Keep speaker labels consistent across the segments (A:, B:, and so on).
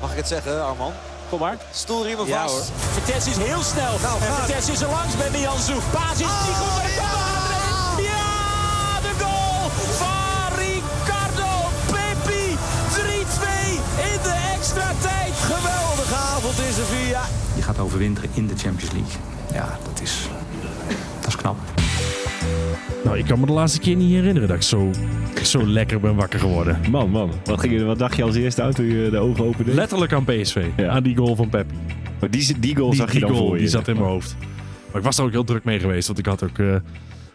A: ik het zeggen, Arman?
B: Kom maar.
A: Stoelriemen
B: Ja,
A: vast.
B: hoor.
C: Vertes is heel snel.
A: Nou,
C: en
A: gaat-
C: Vertes is er langs bij Mian Zoek. Paas is niet goed. maar
A: ja!
C: Kamada erin. Ja, de goal van Ricardo Pepi. 3-2 in de extra tijd. Geweldige avond is er via.
D: Je gaat overwinteren in de Champions League. Ja, dat is, dat is knap.
E: Nou, ik kan me de laatste keer niet herinneren dat ik zo, zo lekker ben wakker geworden.
F: Man, man. Wat, ging, je- wat dacht je als eerste uit toen je de ogen opende?
E: Letterlijk aan PSV.
F: Ja.
E: Aan die goal van Pep.
F: Maar die, die goal
E: Die,
F: zag je
E: die
F: dan
E: goal,
F: voor je.
E: die zat in mijn hoofd. Maar ik was er ook heel druk mee geweest, want ik had ook eh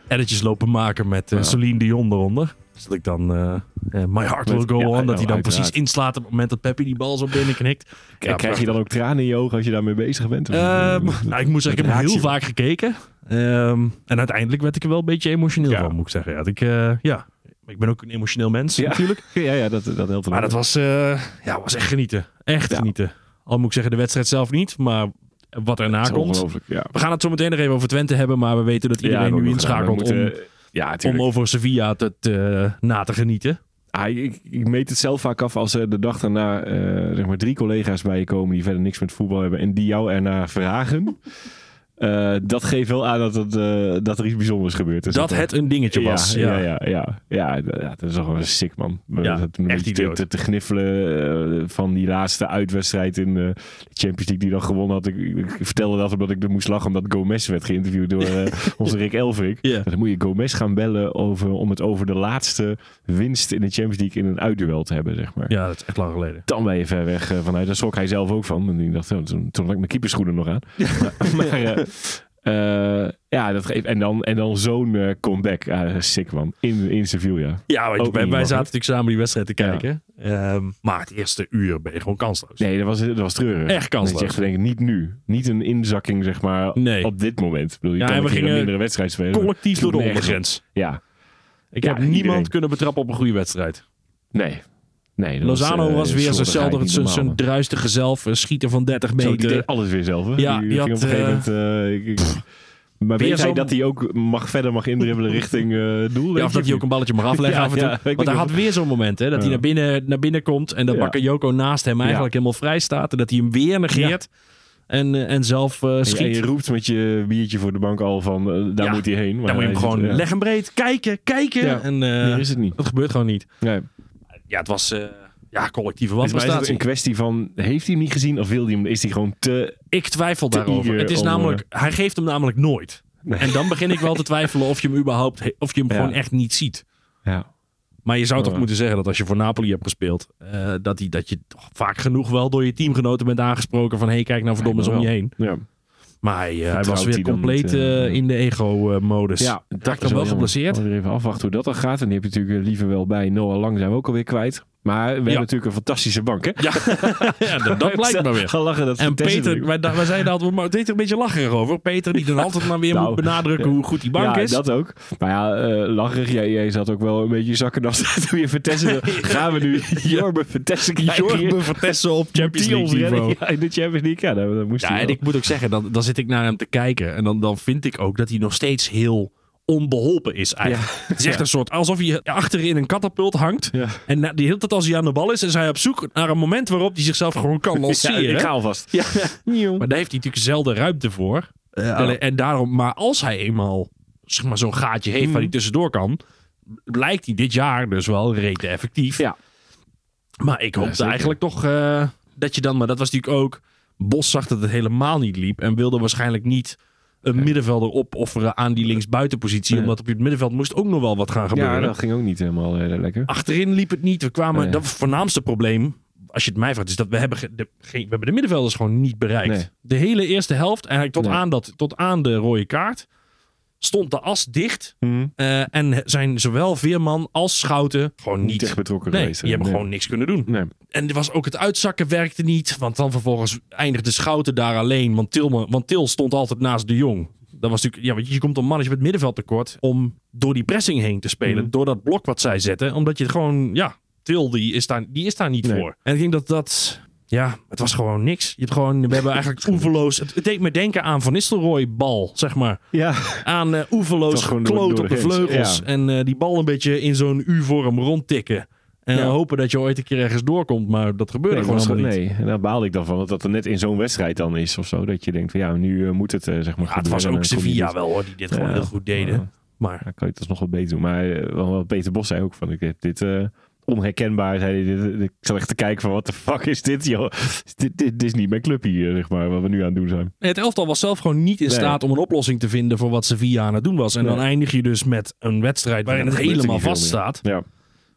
E: editjes lopen maken met eh Celine Dion eronder. Dus dat ik dan eh, eh, My Heart Will
F: Met-
E: Go
F: ja,
E: On, dat
F: nou,
E: hij dan precies
F: uiteraard.
E: inslaat op het moment dat Peppi die bal zo binnenknikt.
F: En krijg je dan ook tranen in je ogen als je daarmee bezig bent? Of-
E: Ehm, nou, ik moet zeggen, ik heb
F: raakt
E: hem heel
F: je wel.
E: vaak gekeken. Ehm, en uiteindelijk werd ik er wel een beetje emotioneel
F: Ja.
E: van, moet ik zeggen. Ja, dat ik, eh, ja, ik ben ook een emotioneel mens
F: Ja.
E: natuurlijk.
F: ja, ja, dat, dat helpt
E: Maar
F: wel.
E: dat was, eh, ja, was echt genieten. Echt
F: Ja.
E: genieten. Al moet ik zeggen, de wedstrijd zelf niet, maar wat erna
F: Dat is
E: komt.
F: ongelooflijk, ja.
E: We gaan het zo meteen nog even over Twente hebben, maar we weten dat iedereen
F: Ja, dat
E: nu
F: moet gaan. We
E: inschakelt om,
F: moeten- eh, ja,
E: om
F: tuurlijk.
E: over Sevilla te, te- na te genieten.
F: Ah, ik, ik meet het zelf vaak af als er de dag daarna eh, zeg maar drie collega's bij je komen die verder niks met voetbal hebben en die jou ernaar vragen. Eh, dat geeft wel aan dat, het, eh, dat er iets bijzonders gebeurd is.
E: Dat het een dingetje
F: ja,
E: was.
F: Ja, ja, ja, ja, d- ja, dat is toch wel sick, man.
E: Ja,
F: dat, een
E: echt
F: beetje
E: idioot.
F: te, te, te gniffelen eh, van die laatste uitwedstrijd in eh, de Champions League die dan gewonnen had. Ik, ik vertelde dat omdat ik er moest lachen omdat Gomez werd geïnterviewd door eh, onze Rick Elvrik.
E: Ja.
F: Dan moet je Gomez gaan bellen over, om het over de laatste winst in de Champions League in een uitduel te hebben, zeg maar.
E: Ja, dat is echt lang geleden.
F: Dan ben je ver weg eh, vanuit. Daar schrok hij zelf ook van. En ik dacht, oh, toen, toen had ik mijn keeperschoenen nog aan. maar eh, eh, ja, dat geeft. En dan, en dan zo'n eh, comeback. Ja, sick man. In, in Sevilla.
E: Ja, want
F: Ook
E: wij,
F: niet
E: wij
F: mogelijk.
E: zaten natuurlijk samen die wedstrijd te
F: Ja.
E: kijken. Ehm, maar het eerste uur ben je gewoon kansloos.
F: Nee, dat was, dat was treurig.
E: Echt kansloos.
F: Dat je echt denkt, niet nu. Niet een inzakking, zeg maar,
E: Nee.
F: op dit moment. Ik bedoel, je
E: Ja,
F: kan
E: en we
F: een keer een
E: gingen
F: mindere wedstrijd spelen.
E: Collectief door de
F: Nergens op.
E: ondergrens.
F: Ja.
E: Ik
F: Ja,
E: heb niemand
F: iedereen.
E: kunnen betrappen op een goede wedstrijd.
F: Nee. nee dat
E: Lozano
F: eh,
E: was weer
F: slordigheid
E: zijnzelfde,
F: niet
E: zijn,
F: normaal,
E: zijn
F: man.
E: druistige zelf, een schieten van 30
F: Zo, die
E: meter.
F: deed alles weer zelf. Hè?
E: Ja, die
F: die, ging
E: had,
F: op een gegeven
E: eh,
F: moment. eh, ik- ik- maar
E: weer
F: weet hij
E: zo'n-
F: dat hij ook mag, verder mag indribbelen richting eh, doel? weet
E: Ja, of dat hij ook een balletje mag afleggen
F: Ja,
E: af en toe.
F: ja, ik weet
E: Want hij
F: niet
E: had
F: of-
E: weer zo'n moment, hè. Dat hij
F: Ja.
E: naar binnen, naar binnen komt en dat
F: Ja.
E: Bakayoko naast hem eigenlijk helemaal vrij staat. En dat hij hem weer negeert en, eh, en zelf eh,
F: En je- en
E: schiet.
F: je roept met je biertje voor de bank al van eh, daar
E: Ja,
F: moet hij heen. Maar
E: Dan moet je hem
F: hij
E: gewoon
F: zit- ja.
E: leg hem breed, kijken, kijken.
F: Ja.
E: En eh,
F: Hier is het niet.
E: dat gebeurt gewoon niet.
F: Nee.
E: Ja, het was eh, ja, collectieve
F: Volgens mij is het
E: wanprestatie.
F: een kwestie van heeft hij hem niet gezien of wil hij hem? Is hij gewoon te.
E: Ik twijfel
F: te
E: daarover.
F: eager
E: Het is
F: om,
E: namelijk, hij geeft hem namelijk nooit.
F: Nee.
E: En dan begin ik wel te twijfelen of je hem überhaupt, he- of je hem
F: Ja.
E: gewoon echt niet ziet.
F: Ja.
E: Maar je zou toch
F: Ja.
E: moeten zeggen dat als je voor Napoli hebt gespeeld, eh, dat, die, dat je toch vaak genoeg wel door je teamgenoten bent aangesproken van hé, hey, kijk nou verdomme eens om
F: wel.
E: je heen.
F: Ja.
E: Maar hij, eh, hij
F: Vertrouwt
E: was weer
F: hij dan
E: compleet
F: niet, eh,
E: eh, in de ego-modus.
F: Ja,
E: Dus dat is wel
F: jammer. Oh,
E: geblesseerd.
F: Laten we weer even afwachten hoe dat dan gaat. En die heb je natuurlijk eh, liever wel bij. Noah Lang zijn we ook alweer kwijt. Maar we hebben natuurlijk een fantastische bank, hè?
E: Ja, ja dat, dat blijkt maar weer.
F: Gaan lachen dat
E: En
F: Vitesse
E: Peter,
F: natuurlijk-
E: wij, da- wij zeiden altijd, maar het deed er een beetje lacherig over. Peter die dan altijd maar weer
F: Nou,
E: moet benadrukken hoe goed die bank
F: ja,
E: is.
F: dat ook. Maar ja, eh, lacherig. Jij, jij zat ook wel een beetje zakken als het weer vertessen. Gaan we nu Jorbe vertessen krijgen?
E: Jorgen Vertessen op Champions
F: Die ons
E: League niveau.
F: redden? Ja, in de Champions League. Ja, dat, dat moest
E: Ja,
F: hij
E: en
F: wel.
E: ik moet ook zeggen, dan, dan zit ik naar hem te kijken. En dan, dan vind ik ook dat hij nog steeds heel onbeholpen is eigenlijk. Het is echt een soort, alsof hij achterin een katapult hangt.
F: Ja.
E: En na, die hele tijd als hij aan de bal is, is hij op zoek naar een moment waarop hij zichzelf gewoon kan
F: Ja,
E: lanceren.
F: ik ga alvast. Ja.
E: Maar daar heeft hij natuurlijk zelden ruimte voor. Eh, alleen, en daarom, maar als hij eenmaal zeg maar, zo'n gaatje heeft
F: Mm.
E: waar hij tussendoor kan, blijkt hij dit jaar dus wel rete effectief.
F: Ja.
E: Maar ik hoopte
F: zeker.
E: eigenlijk toch eh, dat je dan, maar dat was natuurlijk ook, Bos zag dat het helemaal niet liep en wilde waarschijnlijk niet een middenvelder opofferen aan die linksbuitenpositie,
F: Nee.
E: omdat op het middenveld moest ook nog wel wat gaan gebeuren.
F: ja, dat ging ook niet helemaal eh, lekker.
E: Achterin liep het niet. We kwamen,
F: Nee.
E: dat was het voornaamste probleem, als je het mij vraagt, is dat we hebben, ge- de, geen- we hebben de middenvelders gewoon niet bereikt.
F: Nee.
E: De hele eerste helft, eigenlijk tot,
F: Nee.
E: aan dat, tot aan de rode kaart, stond de as dicht.
F: Mhm.
E: eh, en zijn zowel Veerman als Schouten gewoon
F: Niet
E: niet...
F: echt betrokken
E: Nee,
F: geweest.
E: die hebben gewoon niks kunnen doen.
F: Nee.
E: En er was ook het uitzakken werkte niet. Want dan vervolgens eindigde Schouten daar alleen. Want Til, want Til stond altijd naast de Jong. Dat was natuurlijk, ja, want je komt een mannetje met middenveld tekort om door die pressing heen te spelen.
F: Mhm.
E: Door dat blok wat zij zetten. Omdat je gewoon, ja, Til die is daar, die is daar niet
F: Nee.
E: voor. En ik denk dat dat, ja, het was gewoon niks. Je hebt gewoon, we hebben eigenlijk oeverloos. Het, het deed me denken aan Van Nistelrooy bal, zeg maar.
F: Ja,
E: Aan eh, oeverloos
F: Het was gewoon door-
E: gekloot
F: door
E: op
F: de
E: de
F: grens.
E: vleugels.
F: Ja.
E: En eh, die bal een beetje in zo'n U-vorm rondtikken. En
F: Ja.
E: hopen dat je ooit een keer ergens doorkomt. Maar dat gebeurde
F: Nee,
E: gewoon
F: was
E: helemaal
F: gewoon-
E: niet.
F: nee, en daar baalde ik dan van. Dat dat er net in zo'n wedstrijd dan is of zo. Dat je denkt van ja, nu eh, moet het eh, zeg maar
E: Ja, het
F: gebeuren.
E: was ook
F: En dan kom je
E: Sevilla
F: niet-
E: wel hoor, die dit gewoon
F: Ja.
E: heel goed deden.
F: Ja.
E: Maar
F: Dan kan je het alsnog wel beter doen. Maar eh, wel wat Peter Bos zei ook van, ik heb dit eh, onherkenbaar. Zei hij, dit, eh, ik zat echt te kijken van, wat de fuck is dit joh? Dit, dit, dit is niet mijn club hier, zeg maar, wat we nu aan het doen zijn.
E: Nee, Het elftal was zelf gewoon niet in
F: Nee.
E: staat om een oplossing te vinden voor wat Sevilla aan het doen was. En
F: Nee.
E: dan eindig je dus met een wedstrijd waarin
F: Dan
E: het
F: gebeurt er
E: helemaal
F: niet veel
E: vast staat.
F: meer. Ja.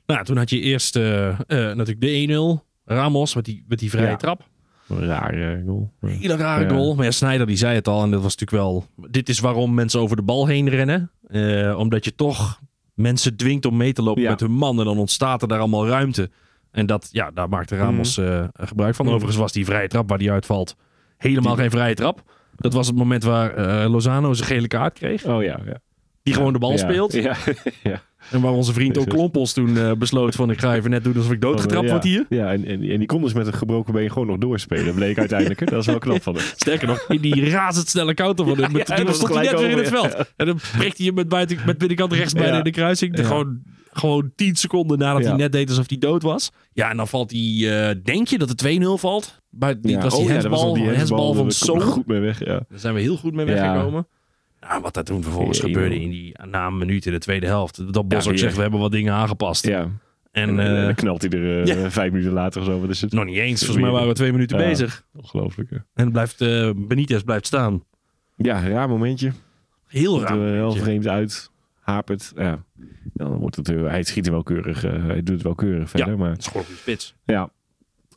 E: Nou, toen had je eerst eh, eh, natuurlijk de 1-0. Ramos met die, met die vrije
F: Ja.
E: trap.
F: Een Raar eh, goal. Ja.
E: Hele rare
F: Ja.
E: goal. Maar ja, Sneijder die zei het al. En dat was natuurlijk wel... Dit is waarom mensen over de bal heen rennen. Eh, omdat je toch mensen dwingt om mee te lopen
F: Ja.
E: met hun man. En dan ontstaat er daar allemaal ruimte. En dat, ja, daar maakte Ramos eh, gebruik van.
F: Mhm.
E: Overigens was die vrije trap waar die uitvalt helemaal geen vrije trap. Dat was het moment waar eh, Lozano zijn gele kaart kreeg.
F: Oh ja, ja.
E: Die gewoon de bal
F: Ja.
E: speelt.
F: Ja. ja.
E: En waar onze vriend ook
F: Precies.
E: Klompels toen eh, besloot van... ik ga even net doen alsof ik doodgetrapt
F: eh, ja.
E: word hier.
F: Ja, en, en, en die kon dus met een gebroken been gewoon nog doorspelen, bleek uiteindelijk. hè. Dat is wel knap van hem.
E: Sterker nog, in die razendsnelle counter van hem.
F: Ja, ja,
E: toen
F: hij was
E: stond hij net
F: gelijk
E: weer in het
F: over,
E: veld. En dan prikt hij hem met, buiten, met binnenkant rechts bijna
F: Ja.
E: in de kruising.
F: Ja.
E: Gewoon, gewoon 10 seconden nadat hij
F: Ja.
E: net deed alsof hij dood was. Ja, en dan valt hij... eh, denk je dat het 2-0 valt? Maar dit
F: Ja.
E: was
F: Oh
E: die
F: ja, dat was
E: hensbal,
F: nog die
E: hensbal van
F: daar kom ik
E: Son.
F: goed mee weg, ja.
E: Daar zijn we heel goed mee
F: Ja.
E: weggekomen. Nou, wat daar toen vervolgens
F: Jee,
E: gebeurde
F: joh.
E: in die, na een minuut in de tweede helft. Dat Bos
F: Ja,
E: ook
F: ja.
E: zegt, we hebben wat dingen aangepast.
F: ja.
E: En,
F: En, eh,
E: eh,
F: dan knalt hij er eh, vijf minuten later of zo. Wat is het?
E: nog niet eens, volgens mij waren we twee minuten
F: Ja.
E: bezig.
F: Ongelooflijk. hè.
E: En blijft, eh, Benitez blijft staan.
F: Ja, raar momentje.
E: Heel
F: Komt er
E: raar.
F: wel heel
E: momentje.
F: vreemd uit. Hapert. Ja. Ja, dan wordt het, eh, hij schiet er wel keurig. eh, hij doet het wel keurig verder. Maar,
E: Schorpioen spits.
F: ja.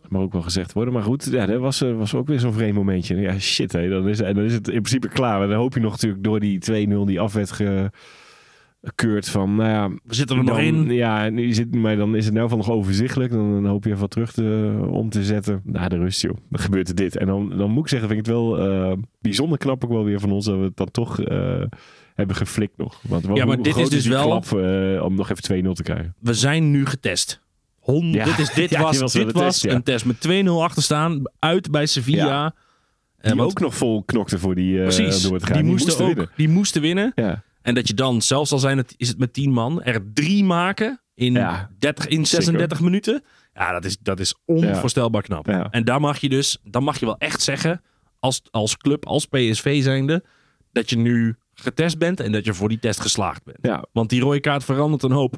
F: maar ook wel gezegd worden. Maar goed, ja, dat was, eh, was ook weer zo'n vreemd momentje. Ja, shit. Hè, dan, is, en dan is het in principe klaar. Maar dan hoop je nog natuurlijk door die 2-0 die af werd gekeurd van, nou ja,
E: We zitten er nog
F: dan-
E: in.
F: Ja, en je zit, maar dan is het nou van nog overzichtelijk. Dan, dan hoop je even wat terug te, om te zetten. Na de rust, joh. Dan gebeurt er dit. En dan, dan moet ik zeggen, vind ik het wel eh, bijzonder knap ook wel weer van ons dat we het dan toch eh, hebben geflikt nog. Want wat-
E: Ja, maar
F: hoe
E: dit
F: groot
E: is dus
F: die
E: wel-
F: klap eh, om nog even 2-0 te krijgen.
E: We zijn nu getest. Hon,
F: Ja.
E: Dit, is, dit
F: Ja,
E: was,
F: dit was wel
E: dit
F: een
E: was
F: test, ja.
E: een test. Met 2-0 achterstaan. Uit bij Sevilla.
F: Ja.
E: En
F: Die
E: we-
F: ook nog vol knokten voor die eh
E: precies.
F: door het gaan.
E: die, moesten ook,
F: winnen.
E: die moesten winnen.
F: Ja.
E: En dat je dan, zelfs al zijn het, is het met 10 man, er drie maken in,
F: Ja.
E: 30, in 36 minuten. Ja, dat is, dat is onvoorstelbaar knap.
F: Ja.
E: En daar mag je dus, dan mag je wel echt zeggen, als, als club, als PSV zijnde, dat je nu getest bent en dat je voor die test geslaagd bent.
F: Ja.
E: Want die rode kaart verandert een hoop.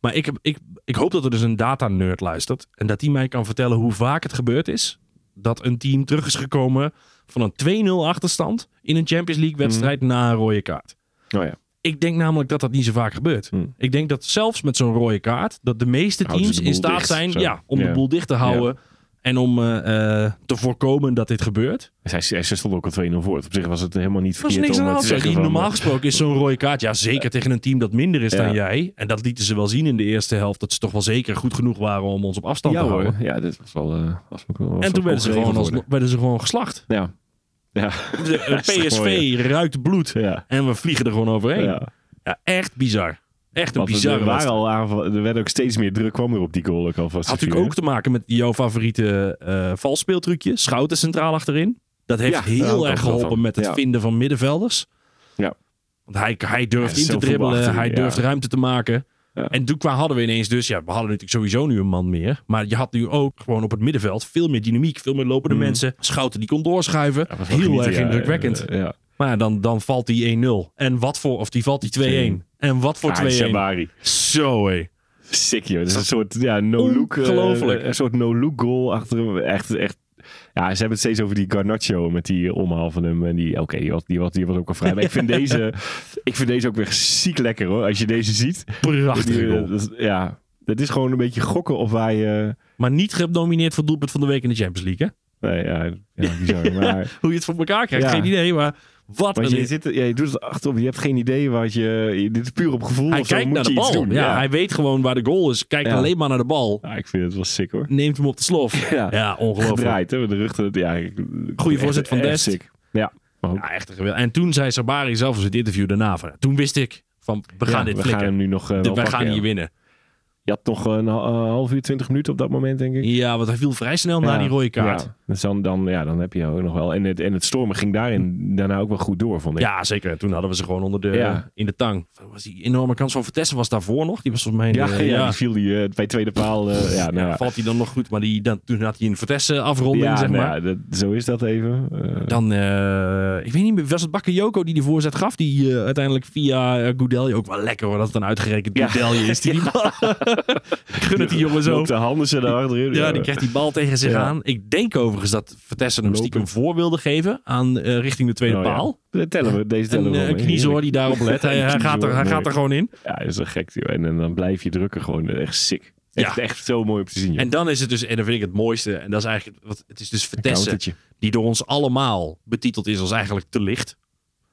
E: Maar ik, heb, ik, ik hoop dat er dus een data-nerd luistert. En dat die mij kan vertellen hoe vaak het gebeurd is. Dat een team terug is gekomen van een 2-0 achterstand. in een Champions League-wedstrijd
F: Hmm.
E: na een rode kaart.
F: Oh ja.
E: Ik denk namelijk dat dat niet zo vaak gebeurt.
F: Hmm.
E: Ik denk dat zelfs met zo'n rode kaart. dat de meeste
F: Houden ze de
E: teams in
F: boel
E: staat
F: dicht,
E: zijn
F: zo.
E: ja, om de
F: Ja.
E: boel dicht te houden. en om eh, eh, te voorkomen dat dit gebeurt.
F: Zij, zij Dus ze stonden ook al 2-0 voor. Op zich was het helemaal niet
E: Er was
F: verkeerd
E: niks
F: om
E: aan de
F: eh,
E: hand.
F: te
E: zo.
F: zeggen
E: Die
F: van,
E: normaal gesproken is zo'n rode kaart. Ja, zeker tegen een team dat minder is
F: Ja.
E: dan jij. En dat lieten ze wel zien in de eerste helft. Dat ze toch wel zeker goed genoeg waren om ons op afstand
F: Ja
E: te houden.
F: hoor. Ja, dit was wel... eh, was wel- was
E: En
F: wel
E: toen werden ze,
F: geregeld
E: gewoon als,
F: worden.
E: werden ze gewoon geslacht.
F: Ja. Ja.
E: De, eh,
F: is toch mooi,
E: PSV ruikt bloed.
F: Ja.
E: En we vliegen er gewoon overheen. Ja,
F: ja.
E: echt bizar. Echt een
F: Want er-
E: bizarre
F: er waren
E: wedstrijd.
F: al aanvallen. Er werd ook steeds meer druk kwam er op die goal. Ook al vast
E: Had natuurlijk ook te maken met jouw favoriete eh valspeeltrucje. Schouten centraal achterin. Dat heeft
F: Ja, daar
E: heel
F: hou ik
E: erg
F: ook wel
E: geholpen
F: van.
E: met het
F: Ja.
E: vinden van middenvelders.
F: Ja.
E: Want hij, hij durft
F: Ja,
E: in te
F: zelf
E: dribbelen.
F: voetbalachterin,
E: Hij
F: ja.
E: durft ruimte te maken.
F: Ja.
E: En toen qua hadden we ineens dus... Ja, we hadden natuurlijk sowieso nu een man meer. Maar je had nu ook gewoon op het middenveld veel meer dynamiek. Veel meer lopende mensen. Schouten die kon doorschuiven.
F: Dat was wel
E: heel
F: genieten,
E: erg
F: Mm. ja.
E: indrukwekkend.
F: Eh, ja.
E: maar ja, dan, dan valt die 1-0. En wat voor... Of die valt die 2-1. En wat voor
F: Ah,
E: 2-1.
F: Jabari.
E: Zo hé.
F: Sick joh. Dat is een soort ja, no-look. eh,
E: Ongelooflijk.
F: een soort no-look goal achter hem. Echt, echt. Ja, ze hebben het steeds over die Garnacho met die omhaal van hem. En die, oké, die, was, die, was, die was ook al vrij. Maar ik vind, deze, ik vind deze ook weer ziek lekker hoor. Als je deze ziet.
E: Prachtige
F: Die, eh,
E: goal.
F: dat is- ja, dat is gewoon een beetje gokken of wij... eh,
E: Maar niet genomineerd voor doelpunt van de week in de Champions League, hè?
F: nee, ja, ja, bizar. Maar
E: Hoe je het voor elkaar krijgt,
F: Ja.
E: geen idee, maar wat
F: Want
E: een...
F: je, zit, ja, je doet het achterop, je hebt geen idee wat je. je- Dit is puur op gevoel.
E: Hij
F: of zo,
E: kijkt
F: moet
E: naar de
F: je iets
E: bal.
F: doen.
E: ja, Hij weet gewoon waar de goal is. Kijkt
F: Ja.
E: alleen maar naar de bal.
F: Ja, ik vind het wel sick hoor.
E: Neemt hem op de slof. Ja,
F: Ja.
E: ongelooflijk.
F: Gedraaid, hè? Met de rug. tot- Ja, ik-
E: Goeie
F: echt-
E: voorzet van
F: echt
E: Dest.
F: sick. Ja, maar ook-
E: Ja, echt een geweld. En toen zei Sabari zelf in het interview daarna van... Toen wist ik van, we gaan
F: ja,
E: dit
F: we
E: flikken.
F: gaan hem nu nog. eh,
E: De-
F: wel
E: wij
F: pakken,
E: gaan
F: ja.
E: hier winnen.
F: eh, Je had nog een ha- een half uur, twintig minuten op dat moment, denk ik.
E: Ja, want hij viel vrij snel na die rode kaart.
F: Ja, Dus dan, dan, ja, dan heb je ook nog wel. En het, en het stormen ging daarin daarna ook wel goed door, vond ik.
E: Ja, zeker. Toen hadden we ze gewoon onder de,
F: Ja.
E: in de tang. Was die enorme kans van Vertessen was daarvoor nog. Die was volgens mij... in
F: ja,
E: de-
F: ja, die viel die, eh, bij tweede paal. eh, ja, nou,
E: Ja,
F: ja.
E: valt hij dan nog goed. Maar die, dan, toen had hij een Vertessen afronding,
F: Ja,
E: zeg
F: nou
E: maar.
F: ja, dat, zo is dat even. Eh,
E: Dan, eh, ik weet niet meer, was het Bakayoko die de voorzet gaf? Die eh, uiteindelijk via eh, Goudelje, ook wel lekker hoor, dat het een uitgerekend
F: Ja.
E: Goudelje is. Die die bal- ik gun het die jongen zo.
F: Op de handen ze daar achterin.
E: Ja, die krijgt die bal tegen zich
F: Ja.
E: aan. Ik denk overigens dat Vertessen hem
F: Lopen.
E: stiekem voor wilde geven aan eh, richting de tweede
F: Oh, ja.
E: paal.
F: Dat tellen we, deze tellen
E: En
F: we
E: eh
F: wel mee.
E: Kniezoor die daarop let. Hij, hij
F: Kniezoor,
E: gaat, er, hij
F: mooi.
E: gaat er gewoon in.
F: Ja, dat is wel gek. Joh. En, en dan blijf je drukken gewoon. eh, Echt sick. Echt,
E: Ja.
F: echt zo mooi om te zien. joh.
E: En dan is het dus, en dat vind ik het mooiste, en dat is eigenlijk, wat, het is dus Vertessen,
F: countertje.
E: die door ons allemaal betiteld is als eigenlijk te licht.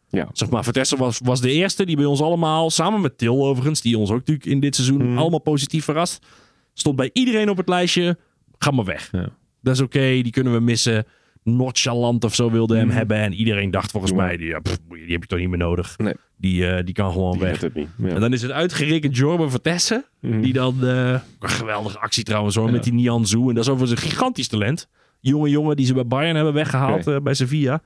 F: Ja.
E: Zeg maar, Vertessen was, was de eerste die bij ons allemaal, samen met Til overigens, die ons ook natuurlijk in dit seizoen
F: Mhm.
E: allemaal positief verrast, stond bij iedereen op het lijstje, ga maar weg.
F: Ja.
E: Dat is oké, die kunnen we missen. Nordjaland of zo wilde
F: Mhm.
E: hem hebben en iedereen dacht volgens mij, die, ja, pff, die heb je toch niet meer nodig.
F: Nee.
E: Die, eh, die kan gewoon
F: Die
E: weg.
F: redt het niet. Ja. Mhm.
E: En dan is het uitgerekend Jorma Vertessen. Die dan... eh, een geweldige actie trouwens hoor. Met die Nian Zhu. En dat is overigens een gigantisch talent. Jonge jongen die ze bij Bayern hebben weggehaald.
F: Oké.
E: eh, bij Sevilla.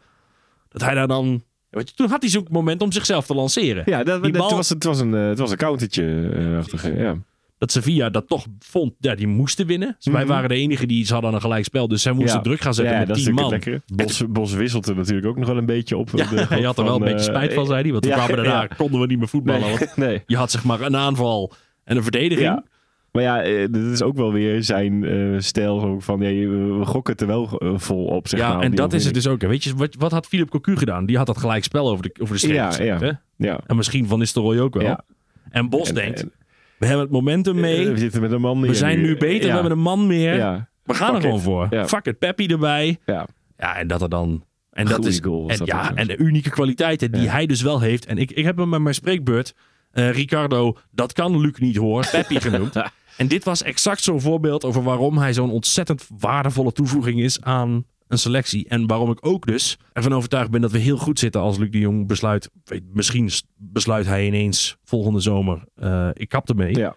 E: Dat hij daar dan... Weet je, toen had hij zo'n moment om zichzelf te lanceren.
F: Ja, dat,
E: Die
F: dat-
E: bal-
F: het, was, het, was een, eh, het was een countertje. eh, achtige, ja.
E: Dat Sevilla dat toch vond... Ja, die moesten winnen. Dus wij waren de enigen die iets hadden aan een gelijkspel. Dus zij
F: Mhm.
E: moesten
F: Ja.
E: druk gaan zetten
F: ja,
E: met
F: dat is
E: 10 man.
F: natuurlijk het lekkere. Bos, Bos wisselt er natuurlijk ook nog wel een beetje op. eh,
E: Ja,
F: De-
E: hij had er wel
F: van,
E: een beetje
F: eh,
E: spijt van, zei hij. Want toen
F: ja,
E: kwamen we daarna,
F: ja.
E: konden we niet meer voetballen.
F: Nee,
E: Want
F: nee.
E: je had zeg maar een aanval en een verdediging.
F: Ja. Maar ja, eh, dit is ook wel weer zijn eh stijl zo van nee, we we gokken het er wel eh, vol op. Zeg maar,
E: Ja,
F: op
E: en
F: die
E: dat is het
F: overwinning.
E: dus ook. hè. Weet je, wat, wat had Philip Cocu gedaan? Die had dat gelijkspel over de, over de streep
F: Ja,
E: gezet,
F: ja.
E: hè?
F: Ja.
E: En misschien Van Nistelrooy ook wel.
F: Ja.
E: En Bos
F: En-
E: denkt,
F: en- Eh,
E: we hebben het momentum mee.
F: We zitten met een man
E: we
F: hier
E: zijn nu beter,
F: Ja.
E: we hebben een man meer.
F: Ja.
E: We gaan er
F: Fuck
E: gewoon
F: it.
E: voor.
F: Ja.
E: Fuck it, Peppi erbij.
F: Ja.
E: Ja, en dat er dan... En dat
F: Goeie
E: is,
F: goal was
E: en,
F: dat
E: ja,
F: trouwens.
E: en de unieke kwaliteiten die
F: Ja.
E: hij dus wel heeft. En ik, ik heb hem met mijn spreekbeurt, eh, Ricardo, dat kan Luc niet hoor, Peppi genoemd. En dit was exact zo'n voorbeeld over waarom hij zo'n ontzettend waardevolle toevoeging is aan een selectie. En waarom ik ook dus ervan overtuigd ben dat we heel goed zitten als Luc de Jong besluit. Weet, misschien s- besluit hij ineens volgende zomer, eh, ik kap ermee.
F: Ja.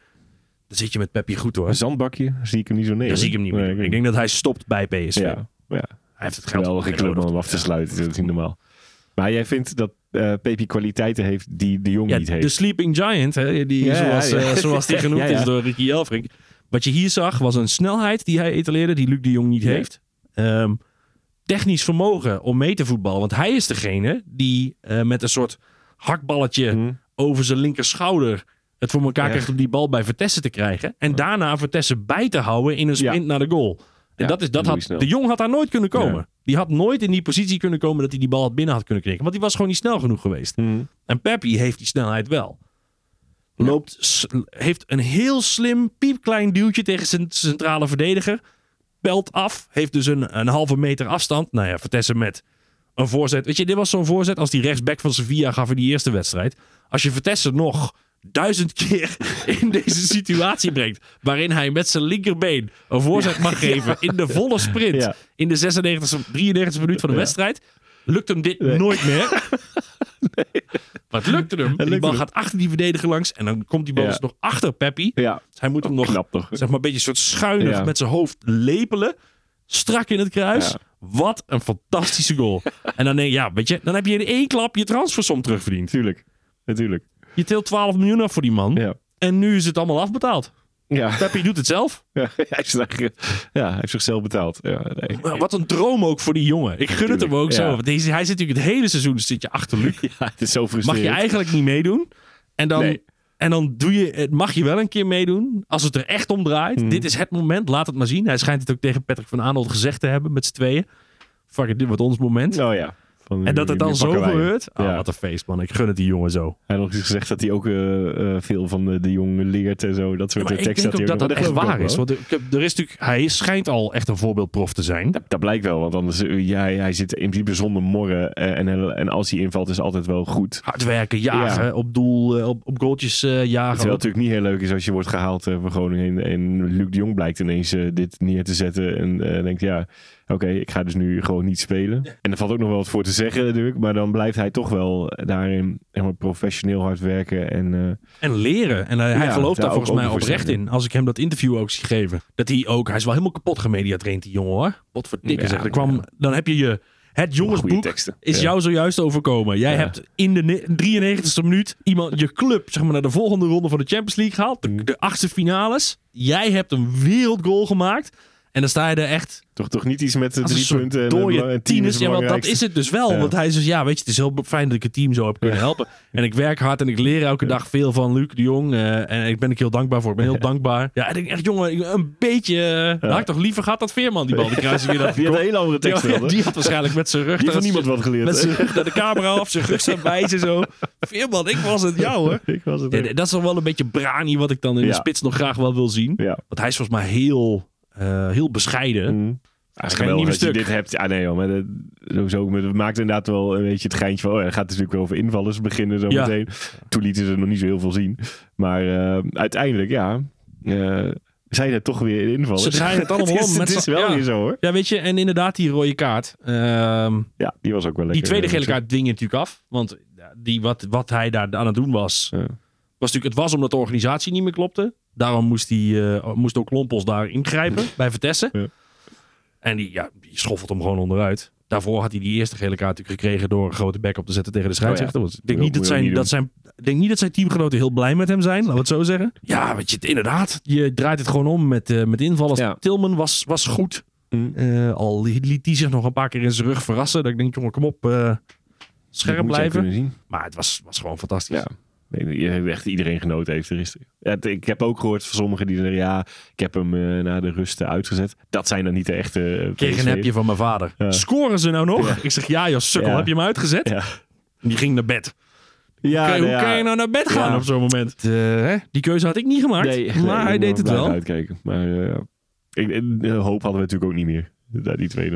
E: Dan zit je met Peppi goed hoor.
F: Een zandbakje, zie ik hem niet zo neer.
E: Dan zie ik hem niet meer.
F: Nee,
E: ik denk dat hij stopt bij PSV. Hij
F: Ja. ja.
E: heeft het geld
F: Geweldige
E: niet
F: club om
E: nodig.
F: hem af te sluiten. Dat is niet normaal. Maar jij vindt dat eh Pepi kwaliteiten heeft die de Jong
E: Ja, dus-
F: niet
E: de
F: heeft.
E: Sleeping Giant, hè, die,
F: Ja,
E: zoals,
F: ja.
E: eh, zoals die genoemd
F: Ja, ja.
E: is door Ricky Elfrink. Wat je hier zag was een snelheid die hij etaleerde, die Luc de Jong niet
F: Ja.
E: heeft. Ehm, technisch vermogen om mee te voetballen. Want hij is degene die eh, met een soort hakballetje
F: Hm?
E: over zijn linkerschouder het voor elkaar
F: Ja.
E: krijgt om die bal bij Vertessen te krijgen. En daarna Vertessen bij te houden in een sprint
F: Ja.
E: naar de goal. En
F: Ja,
E: dat is, dat
F: doe je
E: had,
F: snel.
E: de Jong had daar nooit kunnen komen.
F: Ja.
E: Die had nooit in die positie kunnen komen dat hij die bal had binnen had kunnen knikken. Want die was gewoon niet snel genoeg geweest.
F: Hm.
E: En Peppi heeft die snelheid wel. Loopt, s- heeft een heel slim, piepklein duwtje tegen zijn centrale verdediger. Pelt af, heeft dus een, een halve meter afstand. Nou ja, Vertessen met een voorzet. Weet je, dit was zo'n voorzet als die rechtsback van Sevilla gaf in die eerste wedstrijd. Als je Vertessen nog duizend keer in deze situatie brengt... waarin hij met zijn linkerbeen een voorzet mag geven in de volle sprint...
F: Ja.
E: in de 96, 93 minuut van de
F: Ja.
E: wedstrijd... lukt hem dit nooit meer. Maar het lukte hem. En die
F: lukte
E: bal
F: hem.
E: gaat achter die verdediger langs. En dan komt die bal
F: Ja.
E: dus nog achter Peppi.
F: Ja,
E: Dus hij moet hem nog,
F: knap toch?
E: zeg maar, een beetje soort schuinig
F: Ja.
E: met zijn hoofd lepelen. Strak in het kruis.
F: Ja.
E: Wat een fantastische goal. en dan denk je, ja, weet je, dan heb je in één klap je transfersom terugverdiend.
F: Natuurlijk. Natuurlijk.
E: Je teelt 12 miljoen af voor die man.
F: Ja.
E: En nu is het allemaal afbetaald.
F: Ja.
E: Peppi doet het zelf.
F: Ja, hij heeft zich- ja, hij heeft zichzelf betaald. Ja, nee.
E: Maar Wat een droom ook voor die jongen. Ik gun het hem
F: Tuurlijk,
E: ook zo.
F: ja.
E: Want deze, hij zit natuurlijk het hele seizoen zit je achter Luc.
F: ja, het is zo
E: mag
F: frustrerend.
E: je eigenlijk niet meedoen. En dan,
F: Nee.
E: en dan doe je, het mag je wel een keer meedoen. Als het er echt om draait. Dit is het moment. Laat het maar zien. Hij schijnt het ook tegen Patrick van Aanholt gezegd te hebben met z'n tweeën. Fuck it, dit wordt ons moment.
F: Oh ja. Van,
E: En dat het dan
F: hier pakken
E: zo
F: wij hem.
E: gebeurt. Ah,
F: Ja.
E: Wat een feest, man. Ik gun het die jongen zo.
F: Hij had nog eens gezegd dat hij ook eh, eh, veel van de, de jongen leert en zo. Dat soort eh,
E: maar ik
F: teksten.
E: denk ook dat dat echt waar is.
F: Dat,
E: Want ik heb- er is natuurlijk, hij schijnt al echt een voorbeeldprof te zijn.
F: dat blijkt wel, want anders eh, ja, hij zit in principe zonder morren. eh, en, en, en als hij invalt is het altijd wel goed.
E: Hard werken, jagen,
F: Ja.
E: op doel, eh, op, op goaltjes eh, jagen.
F: Terwijl het natuurlijk niet heel leuk is als je wordt gehaald eh, van Groningen. En, en Luc de Jong blijkt ineens eh, dit neer te zetten. En eh denkt, ja, oké, ik ga dus nu gewoon niet spelen. En er valt ook nog wel wat voor te zeggen natuurlijk, maar dan blijft hij toch wel eh, daarin zeg maar, professioneel hard werken. En eh,
E: En leren. En hij, hij
F: Ja,
E: gelooft daar
F: daar ook
E: volgens mij
F: over
E: oprecht
F: zeggen.
E: in. Als ik hem dat interview ook zie geven. Dat hij ook... Hij is wel helemaal kapot gemediatraind, die jongen hoor. Potverdikke
F: Ja,
E: zeg. Er kwam, Dan heb je je... Het
F: goede
E: jongensboek
F: teksten.
E: is
F: Ja.
E: jou zojuist overkomen. Jij
F: Ja.
E: hebt in de ne- 93ste minuut iemand, je club zeg maar, naar de volgende ronde van de Champions League gehaald.
F: Mm.
E: De, de achtste finales. Jij hebt een wereldgoal gemaakt. En dan sta je er echt
F: toch, toch niet iets met de
E: als een
F: drie
E: soort
F: punten en een
E: dode
F: bela- en tien
E: tieners.
F: is
E: Ja, want dat is het dus wel.
F: Ja.
E: Want hij zegt, ja, weet je, het is heel be- fijn dat ik het team zo heb kunnen helpen. En ik werk hard en ik leer elke dag veel van Luc de Jong. eh, en ik ben ik heel dankbaar voor. Ik ben heel dankbaar. Ja, ik denk echt, jongen, ik- een beetje... eh, had ik toch liever gehad dat Veerman die bal de kruising weer had
F: Die had een hele andere tekst
E: Ja,
F: wel, hè?
E: die had waarschijnlijk met zijn rug...
F: Die
E: naar-
F: heeft niemand wat geleerd.
E: met
F: hè?
E: zijn rug naar de camera af, zijn rug staan wijzen zo. Veerman, ik was het, jou hoor.
F: ik was het.
E: Ja,
F: ook.
E: dat is toch wel een beetje brani wat ik dan in
F: Ja.
E: de spits nog graag wel wil zien.
F: Ja.
E: Want hij is volgens mij heel, eh, heel bescheiden.
F: Mhm.
E: Hij schrijft
F: Geweldig
E: een
F: dat
E: nieuw
F: je
E: stuk.
F: dit hebt. Ja, nee joh, maar dat, sowieso, maar dat maakt inderdaad wel een beetje het geintje van... Oh, ja, het gaat natuurlijk weer over invallers beginnen zo
E: Ja.
F: meteen. Toen lieten ze er nog niet zo heel veel zien. Maar eh, uiteindelijk, ja, eh, zijn er toch weer invallers.
E: Ze draaien het allemaal
F: Het is,
E: om met
F: het is
E: z'n-
F: wel
E: ja.
F: weer zo hoor.
E: Ja, weet je, en inderdaad die rode kaart. Ehm,
F: Ja, die was ook wel
E: die
F: lekker. eh,
E: tweede gele kaart ding je natuurlijk af. Want die, wat, wat hij daar aan het doen was,
F: Ja.
E: was natuurlijk, het was omdat de organisatie niet meer klopte. Daarom moest, die, eh, moest ook Lompos daar ingrijpen bij Vitesse.
F: Ja.
E: En die, ja, die schoffelt hem gewoon onderuit. Daarvoor had hij die eerste gele kaart natuurlijk gekregen door een grote bek op te zetten tegen de scheidsrechter. Want Ik denk
F: Nou Moet je
E: niet dat
F: ook- moet je ook
E: zijn,
F: niet
E: dat zijn, ik denk niet dat zijn teamgenoten heel blij met hem zijn, laten we het zo zeggen. Ja, weet je, inderdaad. Je draait het gewoon om met, eh, met invallers.
F: Ja.
E: Tilman was, was goed. Eh, al li- liet die zich nog een paar keer in zijn rug verrassen. Dat ik denk, jongen, kom op, eh,
F: Dat
E: scherp
F: moet je ook
E: blijven.
F: kunnen zien.
E: Maar het was, was gewoon fantastisch.
F: Ja. Ik denk dat je- Echt iedereen genoten heeft er is. Ja, het- ik heb ook gehoord van sommigen die zeggen... Ja, ik heb hem eh, na de rust eh, uitgezet. Dat zijn dan niet de echte eh,
E: Kreeg een
F: PSV.
E: appje van mijn vader.
F: Ja.
E: Scoren ze nou nog? Ik zeg, ja joh, sukkel,
F: Ja.
E: heb je hem uitgezet?
F: Ja.
E: Die ging naar bed.
F: Ja,
E: Kijk,
F: nou
E: hoe
F: ja.
E: kan je nou naar bed gaan
F: Ja.
E: op zo'n moment?
F: eh,
E: Die keuze had ik niet gemaakt,
F: Nee,
E: maar
F: nee,
E: hij
F: je
E: deed
F: moet
E: het
F: maar
E: wel.
F: Uitkijken. Maar eh, ik, en, eh, hoop hadden we natuurlijk ook niet meer. Daar die 2-0.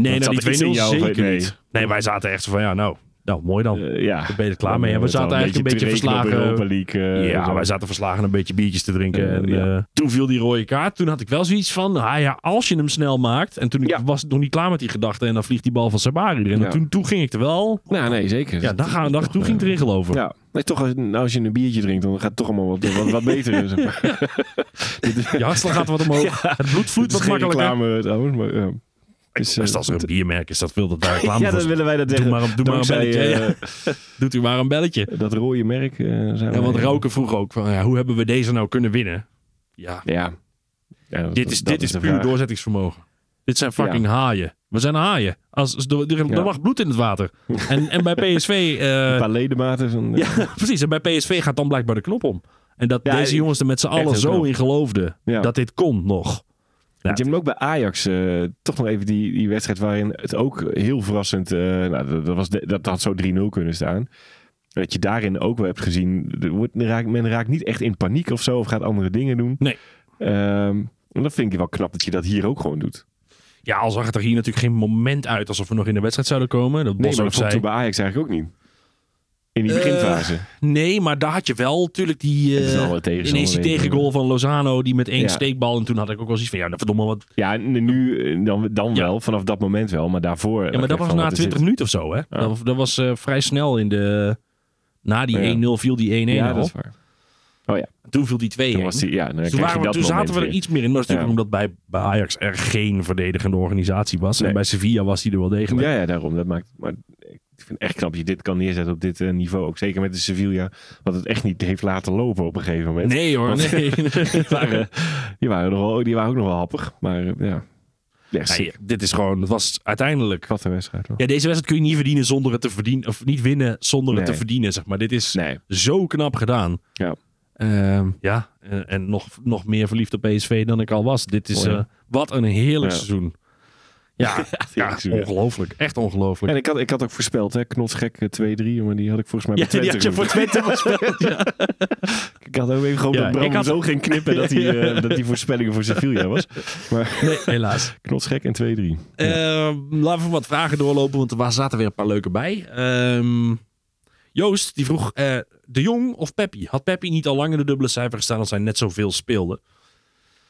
F: Dat zat
E: nou,
F: er
E: die 2-0
F: iets in jou, of-
E: zeker
F: nee.
E: niet. Nee, wij zaten echt zo van, ja nou, nou mooi dan.
F: Eh, ja.
E: ben je er klaar mee. En we zaten eigenlijk een beetje verslagen.
F: Europa League. eh, en
E: ja,
F: zo.
E: wij zaten verslagen een beetje biertjes te drinken.
F: Eh,
E: en,
F: ja.
E: eh, toen viel die rode kaart. Toen had ik wel zoiets van, ah ja, als je hem snel maakt. En toen ik was ik nog niet klaar met die gedachte. En dan vliegt die bal van Sabari erin. En
F: Ja.
E: toen, toen ging ik er wel.
F: Nou, nee, zeker.
E: Ja, dan gaan, dan, toen ging ik erin geloven.
F: Ja, nee, toch als, nou, als je een biertje drinkt, dan gaat het toch allemaal wat, wat, wat beter. zeg maar.
E: Je hartslag gaat wat omhoog. Het bloed vloeit
F: Het is
E: wat
F: geen
E: makkelijker.
F: reclame eh, trouwens, maar ja. Dus, eh,
E: Best als er een biermerk is, dat wil dat daar reclame
F: ja,
E: voor
F: dan willen wij dat
E: Doe
F: zeggen.
E: maar een, doe maar een
F: Dankzij,
E: belletje.
F: eh,
E: ja. Doet u maar een belletje.
F: Dat rode merk. eh, zijn
E: Ja,
F: wij-
E: want Roken vroeg ook, van, ja, hoe hebben we deze nou kunnen winnen? Ja,
F: Ja. Ja, dat-
E: dit is,
F: dat
E: dit is
F: de
E: puur
F: vraag.
E: doorzettingsvermogen. Dit zijn fucking haaien. We zijn haaien. Als, als- er, er- er
F: Ja.
E: lag bloed in het water. En, en bij PSV... eh,
F: Een paar ledematen. Van, eh,
E: ja, precies. En bij PSV gaat dan blijkbaar de knop om. En dat
F: Ja,
E: deze
F: ik-
E: jongens er met z'n allen
F: heel
E: zo
F: knap.
E: in geloofden.
F: Ja.
E: Dat dit kon nog. Ja.
F: Want Je hebt hem ook bij Ajax eh, toch nog even die, die wedstrijd waarin het ook heel verrassend. eh, nou, dat, dat, was de- dat had zo 3-0 kunnen staan. Dat je daarin ook wel hebt gezien. er wordt- er raakt- men raakt niet echt in paniek of zo. Of gaat andere dingen doen.
E: Nee.
F: Ehm, en dat vind ik wel knap dat je dat hier ook gewoon doet.
E: Ja, al zag het er hier natuurlijk geen moment uit alsof we nog in de wedstrijd zouden komen. Dat
F: Nee,
E: Bos
F: maar
E: ook
F: dat vond ik
E: zei.
F: toen bij Ajax eigenlijk ook niet. In die
E: Eh,
F: beginfase.
E: Nee, maar daar had je wel natuurlijk die...
F: Het is
E: eh,
F: wel wat tegenstander,
E: ineens die
F: denk ik.
E: tegengoal van Lozano. Die met één
F: Ja.
E: steekbal. En toen had ik ook wel zoiets van... Ja, nou, verdomme wat...
F: Ja, en nu eh, dan, dan
E: Ja.
F: wel. Vanaf dat moment wel. Maar daarvoor.
E: Ja, maar dat was na 20
F: minuten.
E: minuten of zo, hè? Dat, was- dat was eh, vrij snel in de... Na die
F: Ja.
E: 1-0 viel die 1-1
F: Ja,
E: al.
F: dat is waar.
E: Toen viel die 2-1.
F: Toen, was die, ja, dan
E: Dus
F: krijg
E: toen,
F: je
E: waren we-
F: dat
E: toen zaten
F: moment
E: we er
F: weer.
E: iets meer in. Maar dat is natuurlijk
F: Ja.
E: omdat bij, bij Ajax er geen verdedigende organisatie was. En
F: Nee.
E: bij Sevilla was die er wel degelijk.
F: Ja, ja, daarom. Dat maakt, maar ik vind het echt knap dat je dit kan neerzetten op dit eh, niveau. Ook zeker met de Sevilla, wat het echt niet heeft laten lopen op een gegeven moment.
E: Nee hoor,
F: Want-
E: nee. eh,
F: Die waren, die waren, nog wel, die waren ook nog wel happig, maar eh, ja. Ja,
E: Nee,
F: sick.
E: dit is gewoon, het was uiteindelijk...
F: Wat een wedstrijd. hoor.
E: Ja, deze wedstrijd kun je niet verdienen zonder het te verdienen. Of niet winnen zonder het
F: Nee.
E: te verdienen, zeg maar. Dit is
F: Nee,
E: zo knap gedaan.
F: Ja.
E: Ehm, ja, eh, en nog, nog meer verliefd op PSV dan ik al was. Dit is,
F: Mooi, hè?
E: eh, wat een heerlijk
F: Ja.
E: seizoen. Ja, ja,
F: seizoen, ja.
E: ongelooflijk. Echt ongelooflijk.
F: en ik had, ik had ook voorspeld, hè, knotsgek eh, 2-3, maar die had ik volgens mij
E: Ja,
F: bij
E: die
F: Twente
E: had je voor
F: genoemd.
E: Twente voorspeld. Ja.
F: Ik had ook even gehoopt
E: Ja,
F: dat Bram
E: ik had-
F: zo ging knippen dat die, eh, dat die voorspellingen voor Sevilla was. Maar
E: Nee, helaas.
F: knotsgek en 2-3.
E: Ehm, laten we wat vragen doorlopen, want er zaten weer een paar leuke bij. Ehm, Joost, die vroeg eh, De Jong of Peppi? Had Peppi niet al lang in de dubbele cijfer gestaan als hij net zoveel speelde?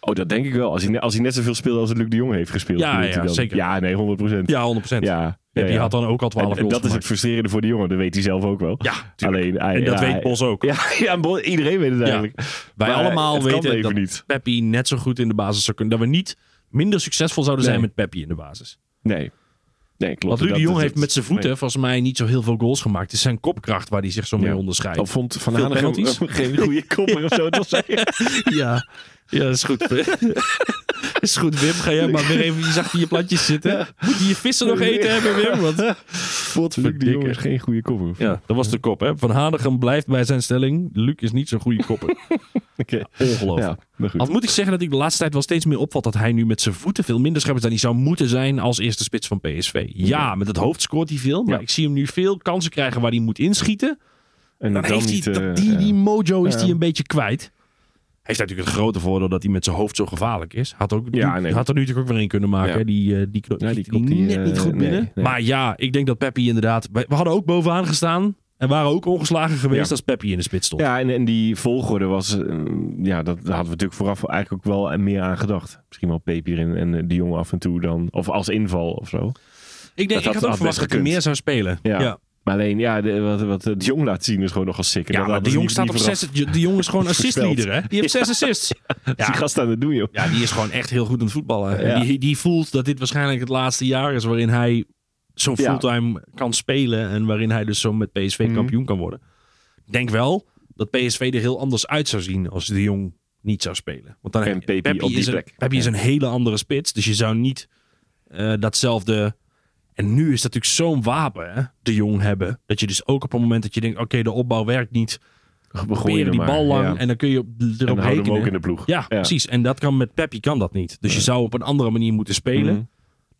F: Oh, dat denk ik wel. Als hij, ne- als hij net zoveel speelde als het Luc de Jong heeft gespeeld.
E: Ja,
F: bedoelt hij
E: ja,
F: dan.
E: zeker.
F: Ja, nee, 100 procent.
E: Ja, 100 procent.
F: ja,
E: die
F: ja, ja.
E: had dan ook al 12
F: En, en
E: goals
F: dat is het
E: gemaakt.
F: frustrerende voor de jongen. Dat weet hij zelf ook wel.
E: Ja, tuurlijk.
F: Alleen, hij,
E: en dat
F: ja,
E: weet
F: hij-
E: Bos ook.
F: Ja, ja Bos- iedereen weet het eigenlijk.
E: Wij
F: Maar
E: allemaal
F: het kan
E: weten
F: even
E: dat
F: niet.
E: Peppi net zo goed in de basis zou kunnen. Dat we niet minder succesvol zouden
F: Nee.
E: zijn met Peppi in de basis.
F: Nee. Nee, klopt.
E: Want Ruud de
F: Dat-
E: Jong
F: dat-
E: heeft met zijn voeten volgens mij niet zo heel veel goals gemaakt. Het is zijn kopkracht waar hij zich zo mee
F: Ja.
E: onderscheidt.
F: Al Oh, vond Van
E: Veel
F: Hanegem
E: penalties.
F: geen goede kopper of zo. Dat zei
E: Ja, ja dat is goed. is goed, Wim. Ga jij maar weer even je zacht in je plantjes zitten. Moet je je vissen nog eten hebben, Wim? Want...
F: Luc de Jong
E: Dikke.
F: is geen goede kopper.
E: Ja, dat was de kop, hè. Van Hanegem blijft bij zijn stelling. Luc is niet zo'n goede kopper.
F: Oké.
E: Ongelooflijk.
F: Ja, maar goed.
E: Al moet ik zeggen dat ik de laatste tijd wel steeds meer opvat dat hij nu met zijn voeten veel minder scherp is dan hij zou moeten zijn als eerste spits van PSV. Ja, met het hoofd scoort hij veel, maar
F: Ja.
E: ik zie hem nu veel kansen krijgen waar hij moet inschieten.
F: En
E: Dan, heeft hij,
F: niet, eh,
E: dat- die,
F: ja.
E: die mojo is
F: Ja.
E: hij een beetje kwijt. Hij heeft natuurlijk het grote voordeel dat hij met zijn hoofd zo gevaarlijk is. Had, ook,
F: Ja,
E: die-
F: nee.
E: had er nu natuurlijk ook weer een kunnen maken.
F: Ja.
E: hè. Die, eh, die kno-
F: Ja, die
E: schiet
F: klopt
E: hij
F: die,
E: net
F: eh,
E: niet goed
F: nee,
E: binnen.
F: nee.
E: Maar ja, ik denk dat Peppi inderdaad... We we hadden ook bovenaan gestaan en waren ook ongeslagen geweest
F: Ja.
E: als Peppi in de spits stond.
F: Ja, en, en die volgorde was... eh, ja, dat, daar hadden we natuurlijk vooraf eigenlijk ook wel meer aan gedacht. Misschien wel Pepe erin en eh, de jongen af en toe dan. Of als inval of zo.
E: Ik, denk,
F: had-
E: ik
F: had
E: had ook
F: best
E: verwacht dat hij
F: gekund.
E: meer zou spelen.
F: Ja.
E: ja.
F: Maar alleen, ja, de- wat, wat de Jong laat zien is gewoon nogal sick. En dat
E: Ja, maar de
F: hadden ze
E: jong
F: niet-
E: staat
F: niet
E: op
F: verwacht.
E: zes. dus Die die jongen is gewoon
F: Voorspeld.
E: assistleader, hè? Die heeft zes assists.
F: Dus Die
E: Ja,
F: gast aan het doen, joh.
E: ja, die is gewoon echt heel goed aan het voetballen. En
F: Ja.
E: Die, die voelt dat dit waarschijnlijk het laatste jaar is waarin hij zo
F: Ja.
E: fulltime kan spelen. En waarin hij dus zo met PSV
F: Mhm.
E: kampioen kan worden. Ik denk wel dat PSV er heel anders uit zou zien als de jong niet zou spelen. Want dan
F: En
E: heb je-
F: Pepi op die
E: is een,
F: plek.
E: Pepi is een hele andere spits. Dus je zou niet eh, datzelfde... En nu is dat natuurlijk zo'n wapen, hè, de jong hebben. Dat je dus ook op het moment dat je denkt... oké, de opbouw werkt niet.
F: We gooien
E: proberen
F: hem
E: die
F: maar,
E: bal lang
F: ja.
E: en dan kun je op-
F: En dan
E: erop
F: houden we hem ook
E: rekenen.
F: in de ploeg.
E: Ja, precies. En dat kan met Peppi kan dat niet. Dus je zou op een andere manier moeten spelen.
F: Mhm.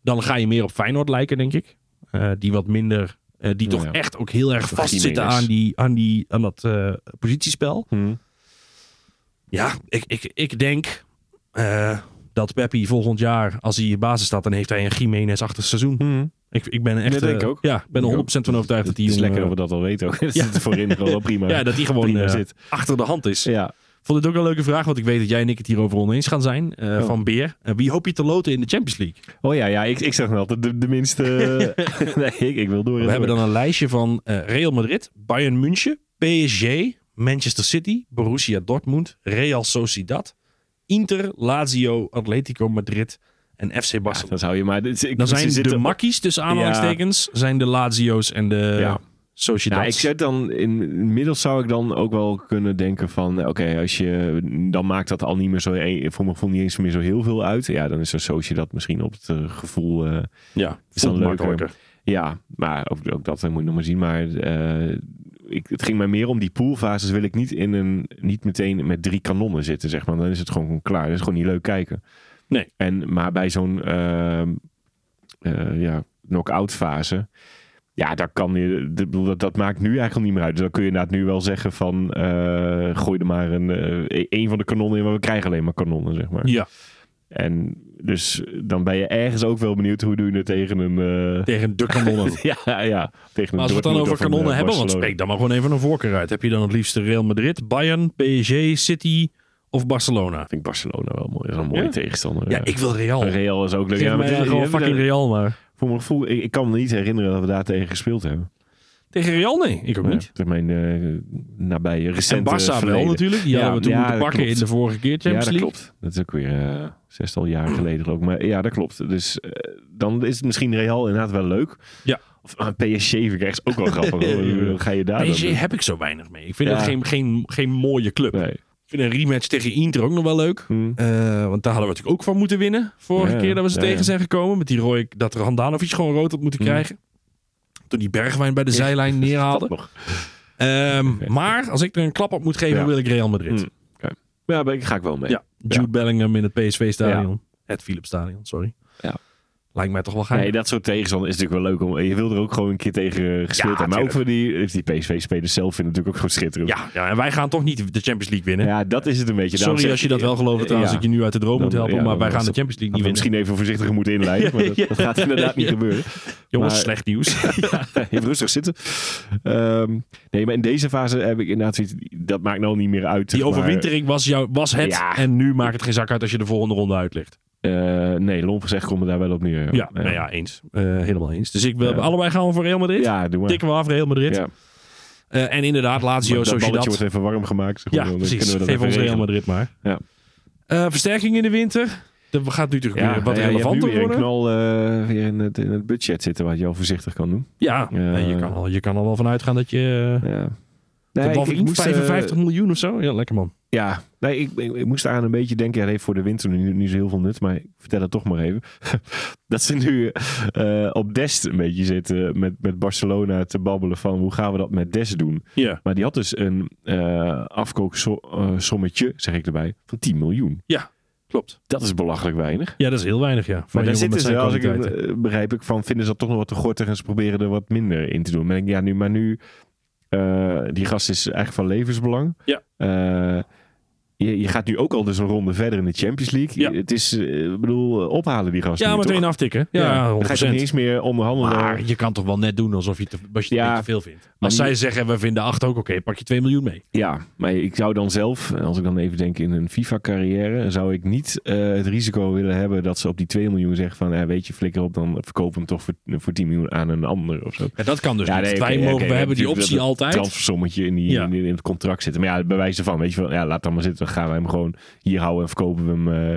E: Dan ga je meer op Feyenoord lijken, denk ik. Eh, die wat minder, eh, die
F: Ja,
E: toch
F: ja.
E: echt ook heel erg
F: Toch
E: vastzitten
F: Jiménez.
E: aan, die, aan, die, aan dat eh, positiespel.
F: Mhm.
E: Ja, ik, ik, ik denk eh, dat Peppi volgend jaar, als hij in basis staat, dan heeft hij een Jiménez achter seizoen.
F: Mhm.
E: Ik, ik ben echt.
F: Ja, denk ik
E: eh,
F: ook.
E: Ja, ik ben
F: Ik
E: er
F: ook.
E: 100% van overtuigd dat
F: Het
E: die
F: is
E: jongen,
F: lekker dat we dat al weten ook. Dat
E: Ja.
F: zit voorin gewoon wel prima.
E: Ja, dat hij gewoon
F: prima
E: eh,
F: zit.
E: achter de hand is.
F: Ja.
E: Vond het ook een leuke vraag, want ik weet dat jij en ik het hierover oneens gaan zijn. eh,
F: Oh.
E: Van Beer. Eh, wie hoop je te loten in de Champions League?
F: Oh ja, ja ik, ik zeg nou altijd de, de minste... nee, ik, ik wil door.
E: We hebben dan een lijstje van eh, Real Madrid, Bayern München, PSG, Manchester City, Borussia Dortmund, Real Sociedad, Inter, Lazio, Atletico Madrid en FC
F: Ja,
E: Barcelona.
F: dan zou je maar... dit- ik-
E: dan
F: ze
E: zijn de
F: zitten-
E: makkies, tussen aanhalingstekens, zijn de Lazio's en de
F: Ja.
E: Sociedad.
F: Nou, ik zet dan... In, inmiddels zou ik dan ook wel kunnen denken van... eh, Oké, als je... Dan maakt dat al niet meer zo... eh, Voor mijn gevoel niet eens meer zo heel veel uit. Ja, dan is een socie dat misschien op het eh, gevoel... eh,
E: ja,
F: is dan
E: voelt
F: leuker.
E: makkelijker.
F: Ja, maar ook, ook dat eh, moet ik nog maar zien. Maar eh, ik, het ging mij meer om die poolfases. Wil ik niet, in een, niet meteen met drie kanonnen zitten, zeg maar. Dan is het gewoon klaar. Dat is gewoon niet leuk kijken.
E: Nee.
F: En, maar bij zo'n eh, eh, ja, knock-out fase... Ja, daar kan je, dat- dat, dat maakt nu eigenlijk al niet meer uit. Dus dan kun je inderdaad nu wel zeggen van... eh, gooi er maar een, eh, één van de kanonnen in, maar we krijgen alleen maar kanonnen, zeg maar.
E: Ja,
F: En dus dan ben je ergens ook wel benieuwd... hoe doe je het tegen een... eh,
E: tegen de kanonnen.
F: ja, ja. Tegen
E: Maar als we het dan over
F: eh,
E: kanonnen hebben, want spreek dan maar gewoon even een voorkeur uit. Heb je dan het liefst Real Madrid, Bayern, PSG, City of Barcelona?
F: vind ik Barcelona wel mooi. Dat is een mooie
E: Ja?
F: tegenstander.
E: Ja, ik wil Real.
F: Real is ook leuk.
E: Geef
F: maar
E: mij
F: het is-
E: gewoon
F: je hebt-
E: eh, fucking Real maar.
F: Voor mijn gevoel, ik, ik kan me niet herinneren dat we daar tegen gespeeld hebben.
E: Tegen Real? Nee, ik ook
F: Nee,
E: niet.
F: Tegen mijn eh nabije
E: En
F: recente
E: Barça wel
F: eh, verleden.
E: natuurlijk. Die
F: Ja,
E: hadden we toen
F: ja,
E: moeten
F: dat
E: pakken
F: klopt.
E: in de vorige keer
F: Ja,
E: Champions
F: dat
E: League.
F: klopt. Dat is ook weer eh, zestal jaar geleden geloof ik. Maar ja, dat klopt. Dus eh, dan is het misschien Real inderdaad wel leuk.
E: Ja.
F: Of eh, PSG vind ik echt ook wel grappig. hoor. Hoe ga je daar dan
E: PSG
F: doen?
E: heb ik zo weinig mee. Ik vind
F: Ja.
E: dat geen, geen, geen mooie club.
F: Nee.
E: Ik vind een rematch tegen Inter ook nog wel leuk.
F: Hm.
E: Eh, want daar hadden we natuurlijk ook van moeten winnen. Vorige
F: Ja,
E: keer dat we ze
F: ja,
E: tegen
F: ja.
E: zijn gekomen. Met die Roy, dat Randanovic gewoon rood had moeten
F: Hm.
E: krijgen. Toen die Bergwijn bij de zijlijn
F: Dat
E: neerhaalde.
F: nog.
E: Ehm, maar als ik er een klap op moet geven,
F: Ja.
E: wil ik Real Madrid.
F: Hm. Ja, daar ben ik- ga ik wel mee.
E: Ja, Jude Bellingham in het PSV-stadion. Het Philips Stadion, sorry.
F: Ja.
E: Lijkt mij toch wel gaaf.
F: Nee, dat soort tegenstander is natuurlijk wel leuk. Om, je wil er ook gewoon een keer tegen eh, gespeeld
E: Ja,
F: hebben. Maar ook voor
E: tuurlijk.
F: die, eh, die PSV-spelers zelf vinden het natuurlijk ook gewoon schitterend.
E: ja, ja, en wij gaan toch niet de Champions League winnen.
F: Ja, dat is het een beetje. Daarom
E: Sorry
F: zeg
E: als je
F: ik-
E: dat wel gelooft trouwens,
F: Ja.
E: dat ik je nu uit de droom
F: Dan-
E: moet helpen.
F: ja,
E: maar
F: dan
E: wij
F: was
E: gaan de
F: het-
E: Champions League
F: Hadden
E: niet
F: we
E: winnen.
F: misschien even voorzichtig moeten inleiden. Maar dat, dat gaat inderdaad niet gebeuren.
E: Jongens,
F: maar-
E: slecht nieuws.
F: Even rustig zitten. Ehm, nee, maar in deze fase heb ik inderdaad zoiets. Dat maakt nou niet meer uit.
E: Die
F: zeg maar.
E: overwintering was, jou, was het.
F: Ja.
E: En nu maakt het geen zak uit als je de volgende ronde uitlegt.
F: Eh, nee, lomp gezegd komen we daar wel op neer.
E: Ja, nou ja, eens. Eh, helemaal eens. Dus ik, we
F: Ja.
E: allebei gaan we voor Real Madrid.
F: Ja, doe maar.
E: Tikken we af Real Madrid.
F: Ja.
E: Eh, en inderdaad, Lazio,
F: dat balletje
E: Sociedad.
F: wordt even warm gemaakt. zeg maar,
E: Ja,
F: dan
E: precies.
F: kunnen we dat
E: Geef
F: even
E: ons Real
F: regelen.
E: Madrid maar.
F: Ja.
E: Eh, versterking in de winter. Dat gaat nu natuurlijk
F: Ja,
E: weer wat
F: nou ja,
E: relevanter
F: je hebt nu
E: worden.
F: weer een knal eh, weer in het, in het budget zitten wat je al voorzichtig kan doen.
E: Ja,
F: Ja.
E: nee, je, kan al, je kan al wel vanuit gaan dat je... eh,
F: Ja. Nee,
E: dat wel
F: ik- ik
E: verdient.
F: moest, eh,
E: 55 miljoen of zo. Ja, lekker man.
F: Ja, nee, ik, ik, ik moest aan een beetje denken. Ja, dat heeft voor de winter nu niet zo heel veel nut, maar ik vertel het toch maar even. dat ze nu eh, op Dest een beetje zitten met, met Barcelona te babbelen van hoe gaan we dat met Dest doen.
E: Ja.
F: Maar die had dus een eh afkoopsommetje, zeg ik erbij, van 10 miljoen.
E: Ja, klopt.
F: Dat is belachelijk weinig.
E: Ja, dat is heel weinig, ja. Voor
F: Maar daar
E: een jongen met
F: zitten ze,
E: zijn
F: als ik het,
E: kwaliteiten.
F: eh, begrijp ik, van vinden ze dat toch nog wat te gortig en ze proberen er wat minder in te doen. Maar, ik denk, ja, nu, maar nu, eh, die gast is eigenlijk van levensbelang.
E: Ja.
F: Eh, je, je gaat nu ook al dus een ronde verder in de Champions Leagle.
E: Ja.
F: Het is, eh, ik bedoel, eh, ophalen die gast
E: Ja,
F: nu,
E: meteen
F: toch?
E: aftikken. Ja,
F: Dan ga je toch
E: 100%.
F: niet eens meer onderhandelen.
E: Maar je kan toch wel net doen alsof je, te, als je het
F: Ja,
E: een beetje veel vindt.
F: maar
E: Als zij
F: niet-
E: zeggen, we vinden 8 ook oké, pak je 2 miljoen mee.
F: Ja, maar ik zou dan zelf, eh, als ik dan even denk in een FIFA-carrière, zou ik niet eh, het risico willen hebben dat ze op die 2 miljoen zeggen van, eh, weet je, flikker op, dan verkoop hem toch voor, voor 10 miljoen aan een ander of zo.
E: Ja, dat kan dus
F: Ja,
E: niet.
F: nee,
E: Wij
F: oké,
E: mogen,
F: oké,
E: we hebben die
F: natuurlijk
E: optie
F: dat
E: altijd.
F: transfersommetje in, die,
E: Ja.
F: in, in het contract zitten. Maar ja, bij wijze van, weet je wel, ja, laat dan maar zitten. Dan gaan wij hem gewoon hier houden en verkopen we hem. eh.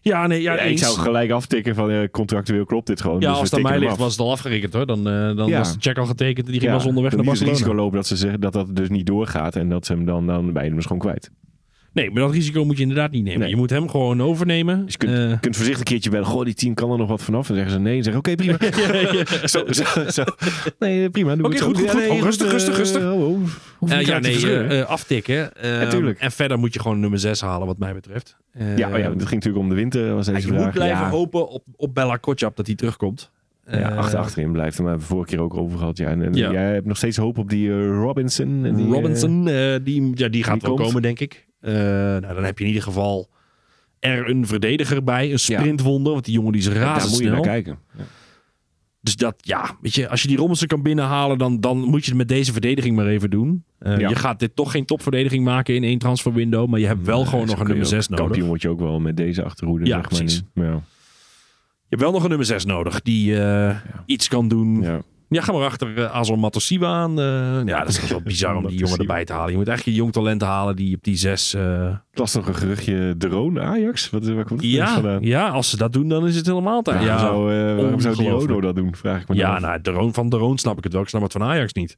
E: Ja, nee, ja,
F: Ja, ik
E: eens.
F: zou gelijk aftikken van eh, contractueel klopt dit gewoon.
E: ja,
F: dus
E: als het
F: we
E: aan mij
F: tikken hem
E: ligt,
F: af.
E: was het al afgerekend hoor. Dan, eh, dan
F: Ja.
E: was de check al getekend en die ging
F: Ja,
E: was onderweg
F: dan
E: naar
F: niet het
E: Barcelona.
F: risico lopen dat ze zeggen dat dat dus niet doorgaat en dat ze hem dan, dan bij hem is gewoon kwijt.
E: Nee, maar dat risico moet je inderdaad niet nemen.
F: Nee.
E: Je moet hem gewoon overnemen.
F: Dus je kunt,
E: Eh,
F: je kunt voorzichtig een keertje bellen. Goh, die team kan er nog wat vanaf. En zeggen ze nee. En zeggen oké, prima. zo, zo, zo. Nee, eh, prima. Doe
E: Oké,
F: het zo.
E: goed, goed,
F: Ja,
E: goed.
F: nee,
E: Oh, rustig,
F: eh,
E: rustig, rustig.
F: oh, oh. Hoef je
E: eh,
F: niet
E: ja,
F: uit te
E: nee,
F: verscheuren.
E: eh, eh, aftikken. Eh,
F: Ja, tuurlijk.
E: en verder moet je gewoon nummer 6 halen, wat mij betreft. Eh,
F: ja, oh ja, het ging natuurlijk om de winter. Was deze
E: Ah, je
F: vraag.
E: moet blijven
F: Ja.
E: hopen op, op Bella Kotjap dat hij terugkomt.
F: Ja,
E: Eh,
F: achter, achterin blijft. Maar we hebben vorige keer ook over gehad. Ja. En, en
E: Ja.
F: jij hebt nog steeds hoop op die eh, Robinson. En die, eh,
E: Robinson, eh, die, ja, die gaat
F: die
E: wel
F: komt.
E: komen, denk ik. Eh, nou, dan heb je in ieder geval er een verdediger bij, een sprintwonder. Want die jongen die is
F: daar moet je naar
E: razendsnel.
F: kijken.
E: Dus dat, ja, weet je, als je die Robinson kan binnenhalen, dan, dan moet je het met deze verdediging maar even doen. Eh,
F: Ja.
E: Je gaat dit toch geen topverdediging maken in één transferwindow, maar je hebt wel gewoon
F: Zo
E: nog een
F: kun
E: nummer
F: je ook-
E: 6 nodig.
F: Kampioen word je ook wel met deze achterhoede.
E: Ja,
F: zeg maar.
E: precies.
F: Ja.
E: Je hebt wel nog een nummer 6 nodig die eh, iets kan doen. Ja.
F: Ja.
E: ga maar achter eh Azor Matosiba aan. eh. ja, dat is toch wel bizar om die jongen
F: Matosiba.
E: erbij te halen. Je moet echt je jong talenten halen die op die zes... eh,
F: Ik las nog een geruchtje. Drone Ajax? Wat, eh, waar komt het
E: Ja,
F: vandaan?
E: ja, als ze dat doen, dan is het helemaal tijd. Ja,
F: waarom zou, eh, waarom zou die
E: ongelooflijk.
F: Rodo dat doen? Vraag ik me dan
E: ja
F: af.
E: nou, de Roon van de Roon snap ik het wel. Ik snap het van Ajax niet.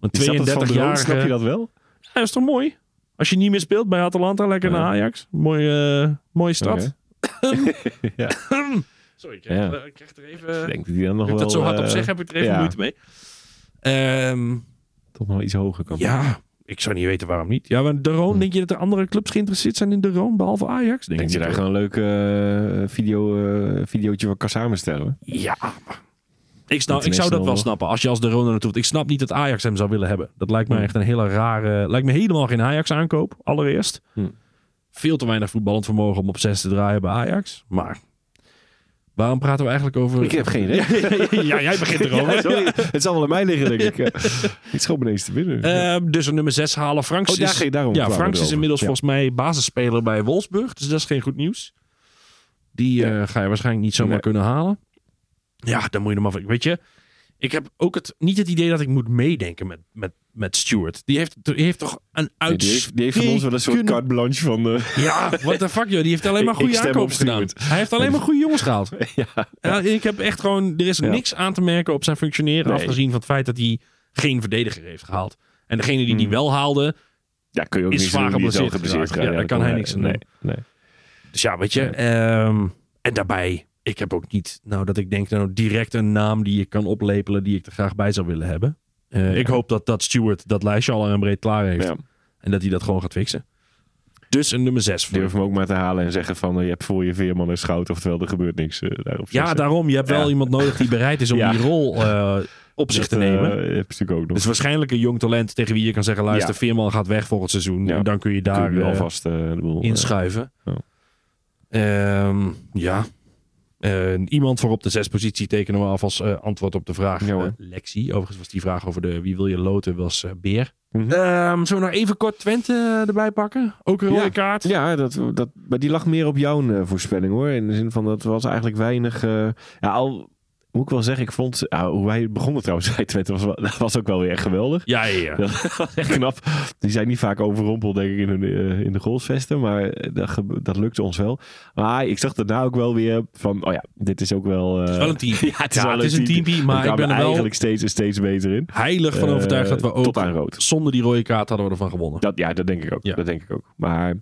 E: Want
F: Is dat het van
E: 32
F: Drone?
E: jaar.
F: Snap je
E: Ja,
F: dat wel?
E: dat is toch mooi? Als je niet meer speelt bij Atalanta, lekker
F: Ja.
E: naar Ajax. Mooie, eh, mooie stad.
F: Ja.
E: Sorry, ik
F: Ja.
E: krijg, eh, ik krijg er even...
F: Ik
E: Nu
F: denk dat die dan nog
E: ik
F: wel...
E: dat zo hard op
F: eh,
E: zeg, heb ik er even
F: ja.
E: moeite mee. Ehm,
F: Toch nog wel iets hoger kan.
E: ja, ik zou niet weten waarom niet. Ja, maar de Roon, denk je dat er andere clubs geïnteresseerd zijn in de Roon, behalve Ajax?
F: Ik
E: Denk
F: Hm. denk
E: ik
F: dat je daar
E: niet,
F: gewoon een leuk eh, video, eh, videootje van kan samenstellen.
E: hoor. Ja, maar ik, snap, ik zou dat wel
F: International.
E: snappen als je als de Roon er naartoe... Ik snap niet dat Ajax hem zou willen hebben. Dat lijkt me
F: Hmm.
E: echt een hele rare... Lijkt me helemaal geen Ajax-aankoop, allereerst.
F: Hmm.
E: Veel te weinig voetballend vermogen om op zes te draaien bij Ajax. Maar waarom praten we eigenlijk over...
F: Ik heb geen idee.
E: ja, jij begint erover.
F: Ja, sorry. Het zal wel aan mij liggen, denk ik. Het schoot me ineens te binnen.
E: Ehm, dus een nummer 6 halen. Franks
F: Oh, daar
E: is,
F: ging- daarom
E: ja,
F: kwamen we
E: Franks is
F: erover.
E: inmiddels
F: Ja.
E: volgens mij basisspeler bij Wolfsburg. Dus dat is geen goed nieuws. Die eh, ga je waarschijnlijk niet zomaar
F: Nee.
E: kunnen halen. Ja, dan moet je hem af. Weet je, ik heb ook het, niet het idee dat ik moet meedenken met, met, met Stuart. Die heeft, die heeft toch een
F: Nee,
E: uit.
F: die, heeft, die heeft van ons wel een soort carte blanche van... eh,
E: Ja, what the fuck joh. Die heeft alleen maar
F: Ik-
E: goede
F: ik stem op
E: aankopen gedaan.
F: Stuart.
E: Hij heeft alleen maar goede jongens gehaald.
F: ja.
E: Ja, ik heb echt gewoon, er is
F: Ja.
E: niks aan te merken op zijn functioneren.
F: Nee.
E: Afgezien van het feit dat hij geen verdediger heeft gehaald. En degene die die wel haalde,
F: ja, kun je ook
E: Is
F: niet
E: zwaar
F: zeggen, die is wel
E: geblesseerd
F: geblesseerd.
E: geraakt.
F: geraakt.
E: Ja, daar kan hij niks aan
F: nee, nee.
E: Dus ja, weet je. ehm, en daarbij, ik heb ook niet, nou dat ik denk, nou direct een naam die ik kan oplepelen, die ik er graag bij zou willen hebben. Eh, Ik hoop dat, dat Stewart dat lijstje al lang en breed klaar heeft.
F: Ja.
E: En dat hij dat gewoon gaat fixen. Dus een nummer 6 voor.
F: Durf hem ook maar te halen en zeggen van eh, je hebt voor je veerman een schout, oftewel er gebeurt niks eh, daarop.
E: Ja, daarom. Je hebt wel
F: Ja.
E: iemand nodig die bereid is om
F: Ja.
E: die rol eh, op zich te nemen.
F: heb je natuurlijk ook nog.
E: Dus waarschijnlijk een jong talent tegen wie je kan zeggen... luister,
F: Ja.
E: Veerman gaat weg volgend seizoen.
F: Ja.
E: En dan kun je
F: Kun je
E: daar
F: nu
E: eh,
F: alvast eh, de boel, eh,
E: inschuiven.
F: Ja.
E: Ehm, ja. Eh, iemand voor op de zes positie tekenen we af als eh, antwoord op de vraag.
F: Ja, hoor.
E: eh, Lexi. Overigens was die vraag over de wie wil je loten was eh, Beer.
F: Mhm.
E: Ehm, zullen we nou even kort Twente eh, erbij pakken? Ook een rode
F: Ja.
E: kaart.
F: Ja, dat, dat, maar die lag meer op jouw eh, voorspelling hoor. In de zin van dat was eigenlijk weinig. eh, ja, al moet ik wel zeggen, ik vond ja, hoe wij begonnen trouwens bij Twente was, wel- dat was ook wel weer echt geweldig.
E: Ja, ja, ja.
F: Dat was echt knap. Die zijn niet vaak overrompeld, denk ik, in, hun, eh, in de goalsvesten. Maar eh, dat, gebe- dat lukte ons wel. Maar ik zag daarna ook wel weer van, oh ja, dit is ook wel... eh,
E: Het is wel een team.
F: Ja, het is, wel
E: een teampie, maar
F: we
E: ik ben er wel
F: eigenlijk steeds en steeds beter in.
E: heilig van
F: Eh,
E: overtuigd dat we ook
F: tot aan rood.
E: zonder die rode kaart hadden we ervan gewonnen.
F: Dat, ja, dat denk ik ook.
E: Ja.
F: Dat denk ik ook. Maar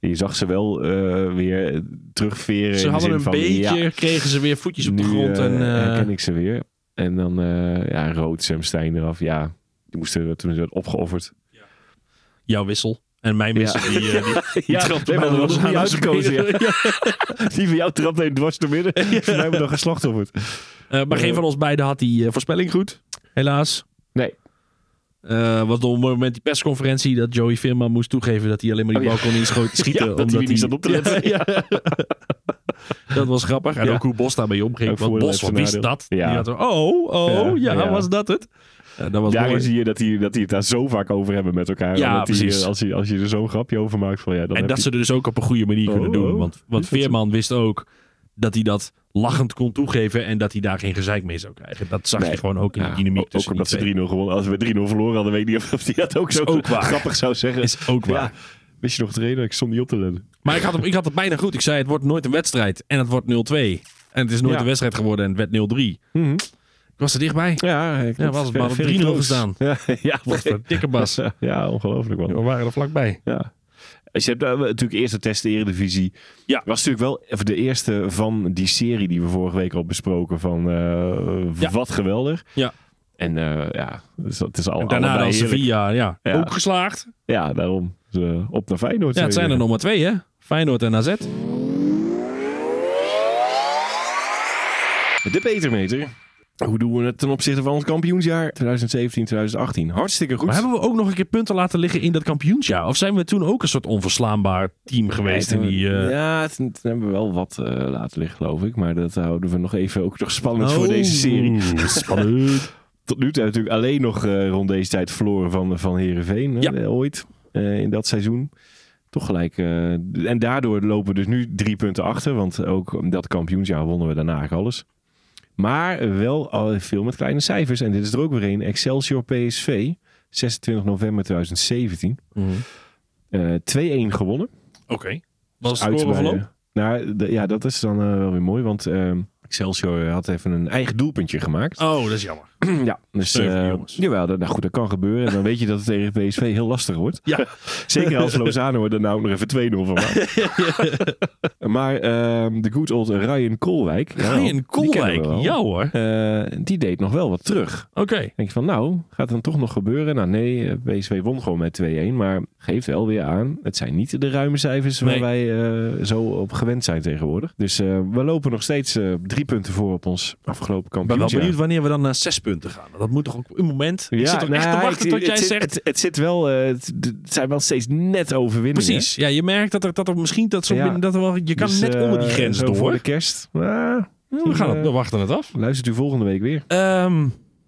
F: je zag ze wel eh, weer terugveren. in
E: Ze
F: de
E: hadden
F: zin
E: een
F: van,
E: beetje,
F: ja,
E: kregen ze weer voetjes op de
F: nu,
E: grond.
F: eh,
E: en, eh,
F: herken ik ze weer. En dan eh, ja, rood Sam Stein eraf. Ja, die moesten toen werd opgeofferd.
E: jouw wissel. En mijn wissel.
F: Ja.
E: Die, eh, die,
F: Ja,
E: trapte
F: nee,
E: mij
F: maar dat
E: nog
F: was
E: aan
F: niet
E: aan zijn
F: uitgekozen,
E: benen. Ja.
F: Die van jou trapt heen dwars door midden. Ja. Voor mij hebben we dan geslachtofferd.
E: Eh, maar geen van ons beiden had die eh, voorspelling goed. Helaas.
F: Nee.
E: Eh was op het moment die persconferentie dat Joey Veerman moest toegeven dat hij alleen maar die
F: Oh, ja.
E: bal kon inschoten schieten.
F: Ja, dat
E: eh, omdat
F: hij weer niet zat op te letten.
E: Ja, ja. dat was grappig. En
F: Ja.
E: ook hoe Bos daarmee omging.
F: Ook
E: Want
F: voordeel
E: Bos,
F: heeft
E: wie is
F: voordeel.
E: dat?
F: Ja.
E: Die had er, oh, oh, ja,
F: Ja, ja.
E: was dat het? Eh, dat was mooi.
F: Daarin zie je dat die, dat die het daar zo vaak over hebben met elkaar.
E: Ja,
F: Omdat die,
E: precies.
F: eh, als, je, als je er zo'n grapje over maakt. Van, ja, dan
E: En
F: heb
E: dat
F: je-
E: ze er dus ook op een goede manier
F: Oh,
E: kunnen doen.
F: oh.
E: Want, want Veerman wist ook dat hij dat lachend kon toegeven en dat hij daar geen gezeik mee zou krijgen. Dat zag je
F: Nee.
E: gewoon ook in de
F: Ja,
E: dynamiek
F: ook- ook
E: tussen
F: omdat ze 3-0
E: die
F: gewonnen. Als we 3-0 verloren hadden, weet ik niet of- of die dat ook zo
E: ook waar.
F: grappig zou zeggen.
E: twee. Is ook waar.
F: Ja. Wist je nog de reden? Ik stond niet op te letten.
E: Maar ik had, hem- ik had het bijna goed. Ik zei het wordt nooit een wedstrijd en het wordt 0-2. En het is nooit
F: Ja. Mhm.
E: een wedstrijd geworden en het werd 0-3. Ik was er dichtbij.
F: Ja, ik
E: Ja, was het maar op 3-0 gestaan.
F: Ja, ja,
E: Wat
F: nee.
E: voor dikke bas.
F: ja ongelooflijk man.
E: We waren er vlakbij.
F: Ja. Dus je hebt daar natuurlijk eerst de test de Eredivisie.
E: Ja.
F: Was natuurlijk wel even de eerste van die serie die we vorige week al besproken. Van eh,
E: Ja.
F: wat geweldig.
E: Ja.
F: En eh, ja, het is, het is al,
E: En daarna
F: allebei
E: dan
F: heerlijk.
E: Sevilla. Ja.
F: Ja.
E: Ook geslaagd.
F: Ja, daarom. Dus, eh, op naar Feyenoord.
E: Ja, het zijn er
F: nog.
E: nog maar twee hè. Feyenoord en AZ.
F: De Petermeter. Hoe doen we het ten opzichte van ons kampioensjaar 2017-2018? Hartstikke goed.
E: Maar hebben we ook nog een keer punten laten liggen in dat kampioensjaar? Of zijn we toen ook een soort onverslaanbaar team geweest? in die, eh,
F: Ja, toen, toen hebben we wel wat eh, laten liggen, geloof ik. Maar dat houden we nog even ook nog spannend voor
E: Oh.
F: deze serie.
E: Spannend.
F: Tot nu toe natuurlijk alleen nog eh, rond deze tijd verloren van, van Heerenveen. hè,
E: Ja.
F: eh, ooit eh, in dat seizoen. Toch gelijk. eh, en daardoor lopen we dus nu drie punten achter. Want ook dat kampioensjaar wonnen we daarna eigenlijk alles. Maar wel al veel met kleine cijfers. En dit is er ook weer een. Excelsior PSV. 26 november 2017. Eh, 2-1 gewonnen.
E: Oké. Wat is het
F: Uit bij-
E: scoreverloop?
F: Nou, de- ja, dat is dan eh, wel weer mooi. Want ehm, Excelsior had even een eigen doelpuntje gemaakt.
E: Oh, dat is jammer.
F: Ja, dus
E: Steun voor die
F: eh,
E: jongens.
F: jawel, dat, nou goed, dat kan gebeuren. En dan weet je dat het tegen PSV heel lastig wordt.
E: Ja.
F: Zeker als Lozano er nou ook nog even 2-0 van maakt. maar ehm, de good old Ryan Koolwijk. ja, die
E: Ryan
F: kennen
E: Koolwijk.
F: we wel.
E: Ja hoor.
F: Eh, die deed nog wel wat terug.
E: Oké.
F: Denk je van, nou, gaat het dan toch nog gebeuren? Nou nee, eh, PSV won gewoon met 2-1. Maar geeft wel weer aan, het zijn niet de ruime cijfers
E: Nee.
F: waar wij eh, zo op gewend zijn tegenwoordig. Dus eh, we lopen nog steeds eh, drie punten voor op ons afgelopen
E: Ik ben wel
F: kampioensjaar.
E: benieuwd wanneer we dan naar zes punten gaan. Dat moet toch ook op een moment. ik zit ook
F: nou
E: echt te
F: ja,
E: wachten
F: het-
E: tot jij
F: het,
E: zegt.
F: Het, het, zit wel, eh, het, het zijn wel steeds net overwinningen.
E: Precies. Ja, je merkt dat er, dat er misschien dat zo
F: Ja.
E: binnen, dat er wel, je kan
F: Dus,
E: net onder die
F: eh,
E: grens
F: zo
E: door.
F: Voor de kerst. Nou,
E: Ja, we, gaan het,
F: eh,
E: we wachten het af.
F: luistert u volgende week weer.
E: Ehm,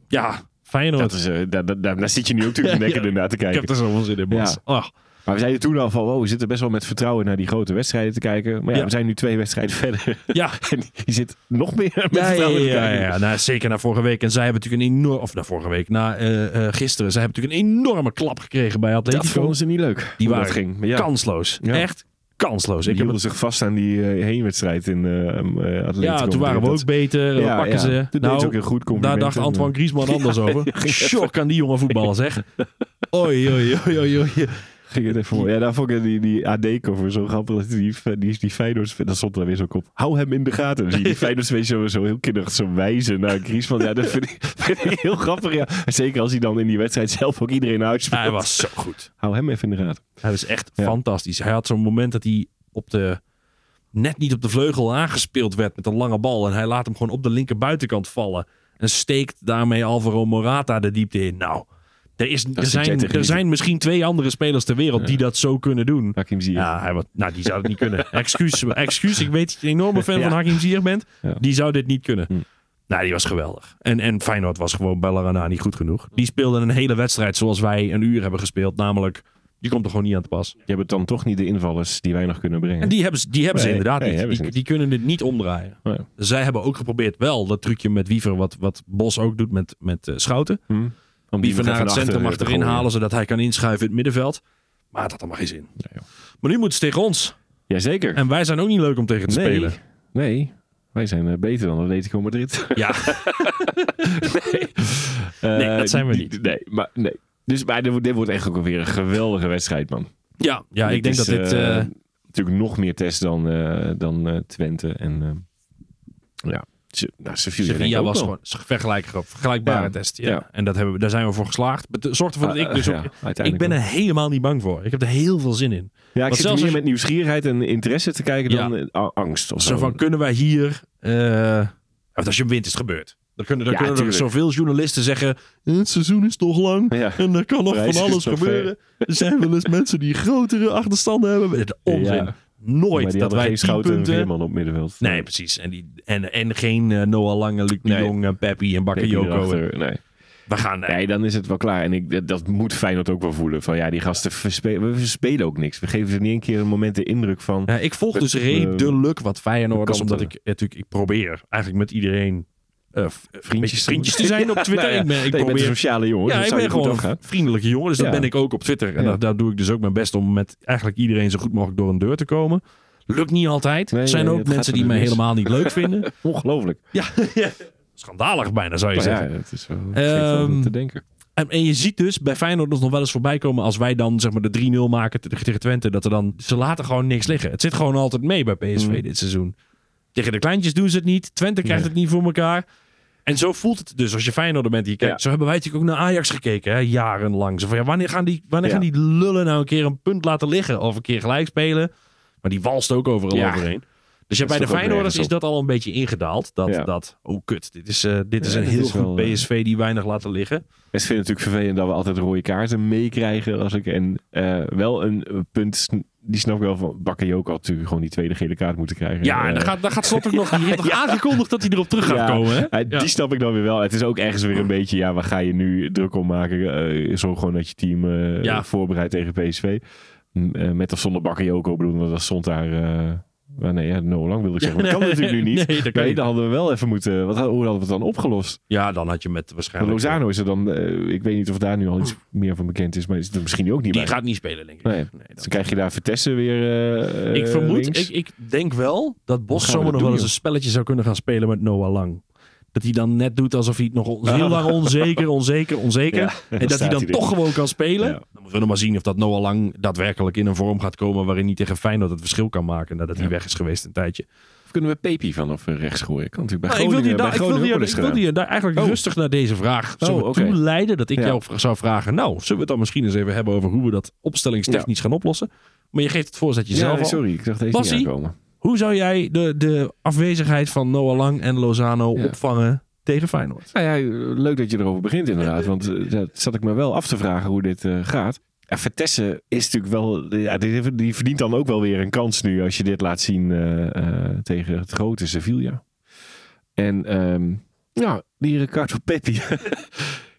E: ja, Feyenoord.
F: Dat is, eh, daar, daar, daar- daar zit je nu ook natuurlijk
E: Ja,
F: lekker
E: ja.
F: naar te
E: ik heb
F: kijken.
E: er zoveel zin in, Ah. Bas. Ach,
F: Maar we zeiden toen al van, wow, we zitten best wel met vertrouwen naar die grote wedstrijden te kijken. Maar ja,
E: Ja.
F: we zijn nu twee wedstrijden verder.
E: ja.
F: en je zit nog meer met
E: Ja, ja,
F: vertrouwen te
E: ja,
F: kijken.
E: ja, ja. Nou, zeker na vorige week. En zij hebben natuurlijk een enorm... Of na vorige week, na eh, eh, gisteren. Zij hebben natuurlijk een enorme klap gekregen bij
F: Dat
E: Atletico.
F: vonden ze niet leuk.
E: Die
F: hoe
E: waren
F: dat ging. Maar ja,
E: Kansloos.
F: Ja.
E: Echt kansloos.
F: die
E: Ik heb het,
F: hielden zich vast aan die eh, heenwedstrijd in eh, eh, Atletico.
E: ja, toen waren we
F: Dat-
E: ook beter. We
F: Ja,
E: pakken
F: ja.
E: ze. Nou,
F: Toen deden ze ook heel goed eh, complimenten.
E: daar dacht Antoine Griezmann anders over. Shock aan die jongen voetballen, zeg. Oei, oei, oei, oei, oei.
F: ging het even voor. Ja, daar vond ik die, die AD-cover zo grappig. dat Die, die, die Feyenoords, dat stond er weer zo op. Hou hem in de gaten. Dan zie je die Feyenoords weet je zo, zo heel kinderig zo wijzen naar Chris. Van, ja, dat vind ik, vind ik heel grappig. Ja. Zeker als hij dan in die wedstrijd zelf ook iedereen uitspeelt.
E: Hij was zo goed.
F: Hou hem even in de gaten.
E: Hij was echt
F: Ja.
E: fantastisch. Hij had zo'n moment dat hij op de, net niet op de vleugel aangespeeld werd met een lange bal. En hij laat hem gewoon op de linker buitenkant vallen. En steekt daarmee Alvaro Morata de diepte in. Nou, er, is, er,
F: zit jij te
E: zijn, er
F: genieten.
E: zijn misschien twee andere spelers ter wereld die dat zo kunnen doen.
F: Hakim Ziyech.
E: Ja, hij was, nou, die zou het niet kunnen. Excuus, excuus, ik weet dat je een enorme fan van Hakim Ziyech bent.
F: Ja. Hm.
E: Die zou dit niet kunnen. Nou, die was geweldig. En, en Feyenoord was gewoon bij Larana niet goed genoeg. Die speelde een hele wedstrijd zoals wij een uur hebben gespeeld. Namelijk, die komt er gewoon niet aan te pas.
F: Je hebt dan toch niet de invallers die wij nog kunnen brengen.
E: En die hebben ze, die hebben ze
F: Nee,
E: inderdaad
F: nee,
E: niet.
F: hebben ze
E: die,
F: niet.
E: die kunnen dit niet omdraaien.
F: Nee.
E: Zij hebben ook geprobeerd wel dat trucje met Wiever, wat, wat Bos ook doet met, met eh, Schouten.
F: Om
E: Wiever
F: meteen
E: naar het
F: van achter
E: centrum
F: te
E: achterin
F: gooien.
E: halen, zodat hij kan inschuiven in het middenveld. Maar het had allemaal geen zin.
F: joh.
E: maar nu moeten ze tegen ons.
F: Jazeker.
E: En wij zijn ook niet leuk om tegen te spelen.
F: Nee, wij zijn eh, beter dan Atletico Madrid.
E: Ja,
F: Eh,
E: dat zijn we
F: die-
E: niet.
F: Nee, maar nee. Dus maar dit, wordt- dit wordt echt ook weer een geweldige wedstrijd, man.
E: ja, ja ik
F: Dit
E: denk
F: is,
E: dat dit...
F: eh,
E: eh,
F: natuurlijk nog meer test dan, eh, dan eh, Twente. En eh, ja, Se- nou, Sevilla, denk ik
E: Sevilla
F: ook
E: was
F: wel.
E: gewoon vergelijkbare, vergelijkbare
F: Ja,
E: test. Ja.
F: ja.
E: En dat hebben we, daar zijn we voor geslaagd. Maar het zorgt ervoor dat
F: Ah,
E: ik dus
F: eh,
E: ook...
F: ja, uiteindelijk
E: ik
F: wel.
E: ben er helemaal niet bang voor. Ik heb er heel veel zin in.
F: Ja, ik
E: Want
F: zit
E: zelfs
F: meer
E: als-
F: met nieuwsgierigheid en interesse te kijken
E: Ja.
F: dan eh, a- angst of zo.
E: Zo van, kunnen wij hier... eh, want als je hem wint, is het gebeurd. Dan kunnen, dan
F: Ja,
E: kunnen er
F: tuurlijk.
E: zoveel journalisten zeggen... Het seizoen is toch lang
F: Ja.
E: en er kan nog
F: Prijs
E: van
F: is
E: alles
F: nog
E: gebeuren. Er zijn wel eens mensen die grotere achterstanden hebben. Het Onzin.
F: Ja.
E: Nooit
F: maar die
E: dat
F: hadden
E: wij
F: geen
E: tien
F: schouten en
E: punten...
F: Veerman op middenveld.
E: Nee, precies. En, die, en, en geen eh, Noah Lange, Luc de
F: Nee.
E: Jong, eh, Peppi en Bakayoko. En-
F: Erachter, Nee.
E: We gaan... eh,
F: nee, dan is het wel klaar. En ik, dat, dat moet Feyenoord ook wel voelen. Van ja, die gasten verspelen, we verspelen ook niks. We geven ze niet een keer een moment de indruk van...
E: Ja, ik volg dus
F: Het,
E: redelijk wat Feyenoorders,
F: kanten.
E: omdat ik eh, natuurlijk ik probeer eigenlijk met iedereen eh, v- een beetje vriendjes te zijn op
F: Nou
E: Twitter.
F: ja, nee, je
E: Ik ben, ik
F: bent een
E: probeer,
F: sociale jongen.
E: ja,
F: dus
E: ik
F: dat
E: ben
F: zou je
E: gewoon
F: goed
E: een
F: afgaan.
E: vriendelijke jongen, dus
F: Ja.
E: dat ben ik ook op Twitter. En
F: Ja.
E: daar, daar doe ik dus ook mijn best om met eigenlijk iedereen zo goed mogelijk door een deur te komen. Lukt niet altijd.
F: Nee,
E: er zijn
F: nee,
E: ook
F: het gaat
E: mensen
F: er
E: die mij
F: mis.
E: helemaal niet leuk vinden.
F: Ongelooflijk.
E: ja, schandalig bijna zou je
F: Maar
E: zeggen.
F: ja, het is wel het geeft wel
E: Ehm,
F: wat te denken.
E: En, en je ziet dus bij Feyenoord ons nog wel eens voorbij komen als wij dan zeg maar de 3-0 maken te- tegen Twente. Dat er dan, ze laten gewoon niks liggen. Het zit gewoon altijd mee bij PSV
F: Mm.
E: dit seizoen. Tegen de kleintjes doen ze het niet. Twente krijgt het niet voor elkaar. En zo voelt het dus als je Feyenoorder bent. die Je kijkt,
F: Ja.
E: Zo hebben wij natuurlijk ook naar Ajax gekeken, hè, jarenlang. Zo van, ja, wanneer gaan, die, wanneer
F: Ja.
E: gaan die lullen nou een keer een punt laten liggen? Of een keer gelijk spelen? Maar die walst ook overal
F: Ja.
E: overheen. Dus ja,
F: Dat
E: bij
F: is toch
E: de
F: ook
E: Feyenoorders is
F: nergens
E: dat al een beetje ingedaald. Dat,
F: Ja.
E: dat oh kut, dit is, eh, dit is
F: Ja,
E: een
F: dit
E: heel
F: is
E: goed
F: wel, eh,
E: PSV die weinig laten liggen.
F: Ik vind het natuurlijk vervelend dat we altijd rode kaarten meekrijgen. Als ik en eh, wel een eh, punt, sn- die snap ik wel van Bakayoko had natuurlijk gewoon die tweede gele kaart moeten krijgen.
E: Ja, en dan
F: Eh,
E: gaat, dan gaat Slot ook nog. Die heeft nog aangekondigd dat hij erop terug gaat
F: ja,
E: komen. Hè?
F: eh,
E: Ja.
F: Die snap ik dan weer wel. Het is ook ergens weer een beetje, ja, waar ga je nu druk om maken? Eh, zorg gewoon dat je team eh,
E: Ja.
F: voorbereidt tegen PSV. M- eh, met of zonder Bakayoko bedoel, want dat stond daar... eh, maar nee, ja, no lang wilde ik zeggen. Maar dat kan natuurlijk nu niet.
E: Nee, dat kan
F: Nee,
E: niet.
F: dan hadden we wel even moeten... Wat, hoe hadden we het dan opgelost?
E: Ja, dan had je met waarschijnlijk.
F: Lozano is er dan... eh, ik weet niet of daar nu al iets meer van bekend is. Maar is er misschien ook niet
E: Die
F: bij.
E: gaat niet spelen, denk ik.
F: Nee.
E: Nee,
F: Dus
E: dat-
F: dan krijg je daar Vitesse weer eh,
E: ik
F: eh,
E: vermoed,
F: links.
E: ik, ik denk wel dat Bos
F: Hoe gaan we
E: zomaar
F: dat
E: nog wel
F: doen,
E: eens een spelletje zou kunnen gaan spelen met Noah Lang. Dat hij dan net doet alsof hij het nog on- heel lang onzeker, onzeker, onzeker.
F: Ja, dan
E: en dat hij
F: staat
E: dan
F: hij er.
E: toch gewoon kan spelen.
F: Ja.
E: Dan moeten we nog maar zien of dat Noah Lang daadwerkelijk in een vorm gaat komen waarin hij tegen Feyenoord het verschil kan maken nadat hij weg is geweest een tijdje.
F: Of kunnen we Pepi vanaf eh, rechts gooien? Kan natuurlijk bij
E: Maar Nou, ik
F: Groningen,
E: wil je
F: bij
E: daar, ik wil
F: Groningen
E: die-
F: ook wel
E: ik
F: eens
E: wil
F: gedaan.
E: die daar eigenlijk
F: Oh.
E: rustig naar deze vraag zullen
F: oké.
E: toe leiden. Dat ik
F: Ja.
E: jou v- zou vragen, nou, zullen we het dan misschien eens even hebben over hoe we dat opstellingstechnisch gaan oplossen? Maar je geeft het voorzet
F: Ja,
E: jezelf
F: nee,
E: al.
F: sorry. Ik dacht deze niet
E: Bassie?
F: aankomen.
E: Hoe zou jij de, de afwezigheid van Noah Lang en Lozano
F: Ja.
E: opvangen tegen Feyenoord?
F: Nou ja, leuk dat je erover begint inderdaad. Want eh, dat zat ik me wel af te vragen hoe dit eh, gaat. Ja, Vitesse is natuurlijk wel... Ja, die, die verdient dan ook wel weer een kans nu als je dit laat zien eh, eh, tegen het grote Sevilla. En ehm, ja, die Ricardo Pepi...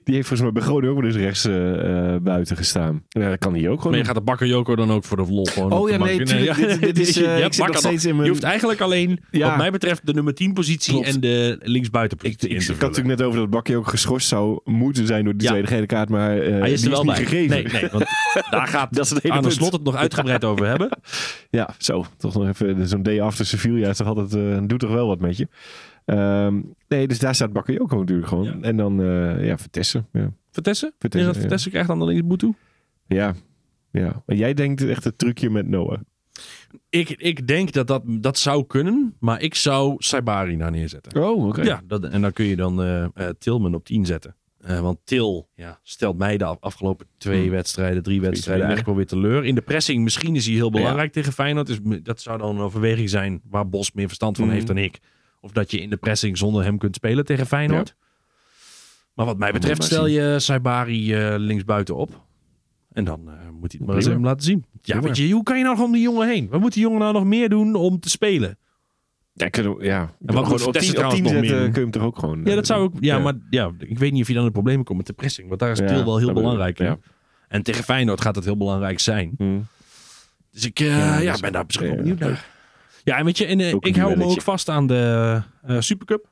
F: die heeft volgens mij bij Groningen ook wel eens rechts eh, eh, buiten gestaan. Ja, dat kan hier ook gewoon.
E: Maar je gaat de bakker Joko dan ook voor de lol gewoon op
F: Oh
E: de
F: ja,
E: bank
F: nee,
E: in-
F: tuurlijk.
E: ja.
F: Dit, dit is, eh,
E: Je
F: ik
E: hebt
F: zit nog
E: bakker nog.
F: steeds in mijn...
E: Je hoeft eigenlijk alleen,
F: Ja.
E: wat mij betreft, de nummer 10 positie
F: Klopt.
E: en de
F: Ik,
E: linksbuitenpositie
F: ik
E: in te
F: had
E: vullen.
F: natuurlijk net over dat Bakje ook geschorst zou moeten zijn door die
E: Ja.
F: tweede gele kaart, maar eh,
E: Hij is
F: die
E: er wel
F: niet
E: bij.
F: gegeven.
E: Nee, nee, want daar gaat
F: Dat is het hele
E: aan de
F: punt.
E: slot het nog uitgebreid over hebben.
F: Ja, zo. Toch nog even eh, zo'n day after Sevilla is toch altijd, eh, doet toch wel wat met je. Ehm, nee, dus daar staat Bakje ook natuurlijk gewoon.
E: Ja.
F: En dan, eh ja, Vitesse. Ja.
E: Vertessen?
F: Vertessen,
E: Vertessen, dat
F: ja.
E: Vertessen krijgt dan alleen boet toe?
F: ja. Ja. Maar jij denkt echt het trucje met Noah.
E: Ik, ik denk dat, dat dat zou kunnen, maar ik zou Saibari daar neerzetten.
F: Oh, oké.
E: Ja, dat, en dan kun je dan eh eh, Tilman op 10 zetten. Eh, want Til ja, stelt mij de af- afgelopen twee
F: Hmm.
E: wedstrijden, drie wedstrijden
F: twee,
E: eigenlijk wel weer teleur. In de pressing misschien is hij heel belangrijk tegen Feyenoord. Dus m- dat zou dan een overweging zijn waar Bos meer verstand van
F: Mhm.
E: heeft dan ik. Of dat je in de pressing zonder hem kunt spelen tegen Feyenoord. Maar wat mij betreft
F: maar
E: stel je Saibari eh linksbuiten op. En dan eh, moet hij het maar eens
F: Prima.
E: even laten zien. Ja,
F: Prima.
E: want je, hoe kan je nou nog om die jongen heen? Wat moet die jongen nou nog meer doen om te spelen?
F: Ja, kunnen we- ja.
E: En wat moet
F: op
E: Vitesse
F: 10 op
E: trouwens
F: 10
E: nog
F: zetten
E: meer doen?
F: kun je hem toch ook gewoon...
E: Ja,
F: eh,
E: dat zou ook. Ja,
F: Ja.
E: maar ja, ik weet niet of je dan in de problemen komt met de pressing. Want daar is
F: Ja,
E: Til wel heel
F: dat bedoel ik,
E: belangrijk. in.
F: ja.
E: En tegen Feyenoord gaat dat heel belangrijk zijn.
F: Hm.
E: Dus ik eh, ja,
F: dat is-
E: ben daar best wel
F: ja,
E: benieuwd naar. Ja, en weet je, en, eh,
F: Ook een
E: ik hou me
F: duelletje.
E: ook vast aan de eh, Supercup.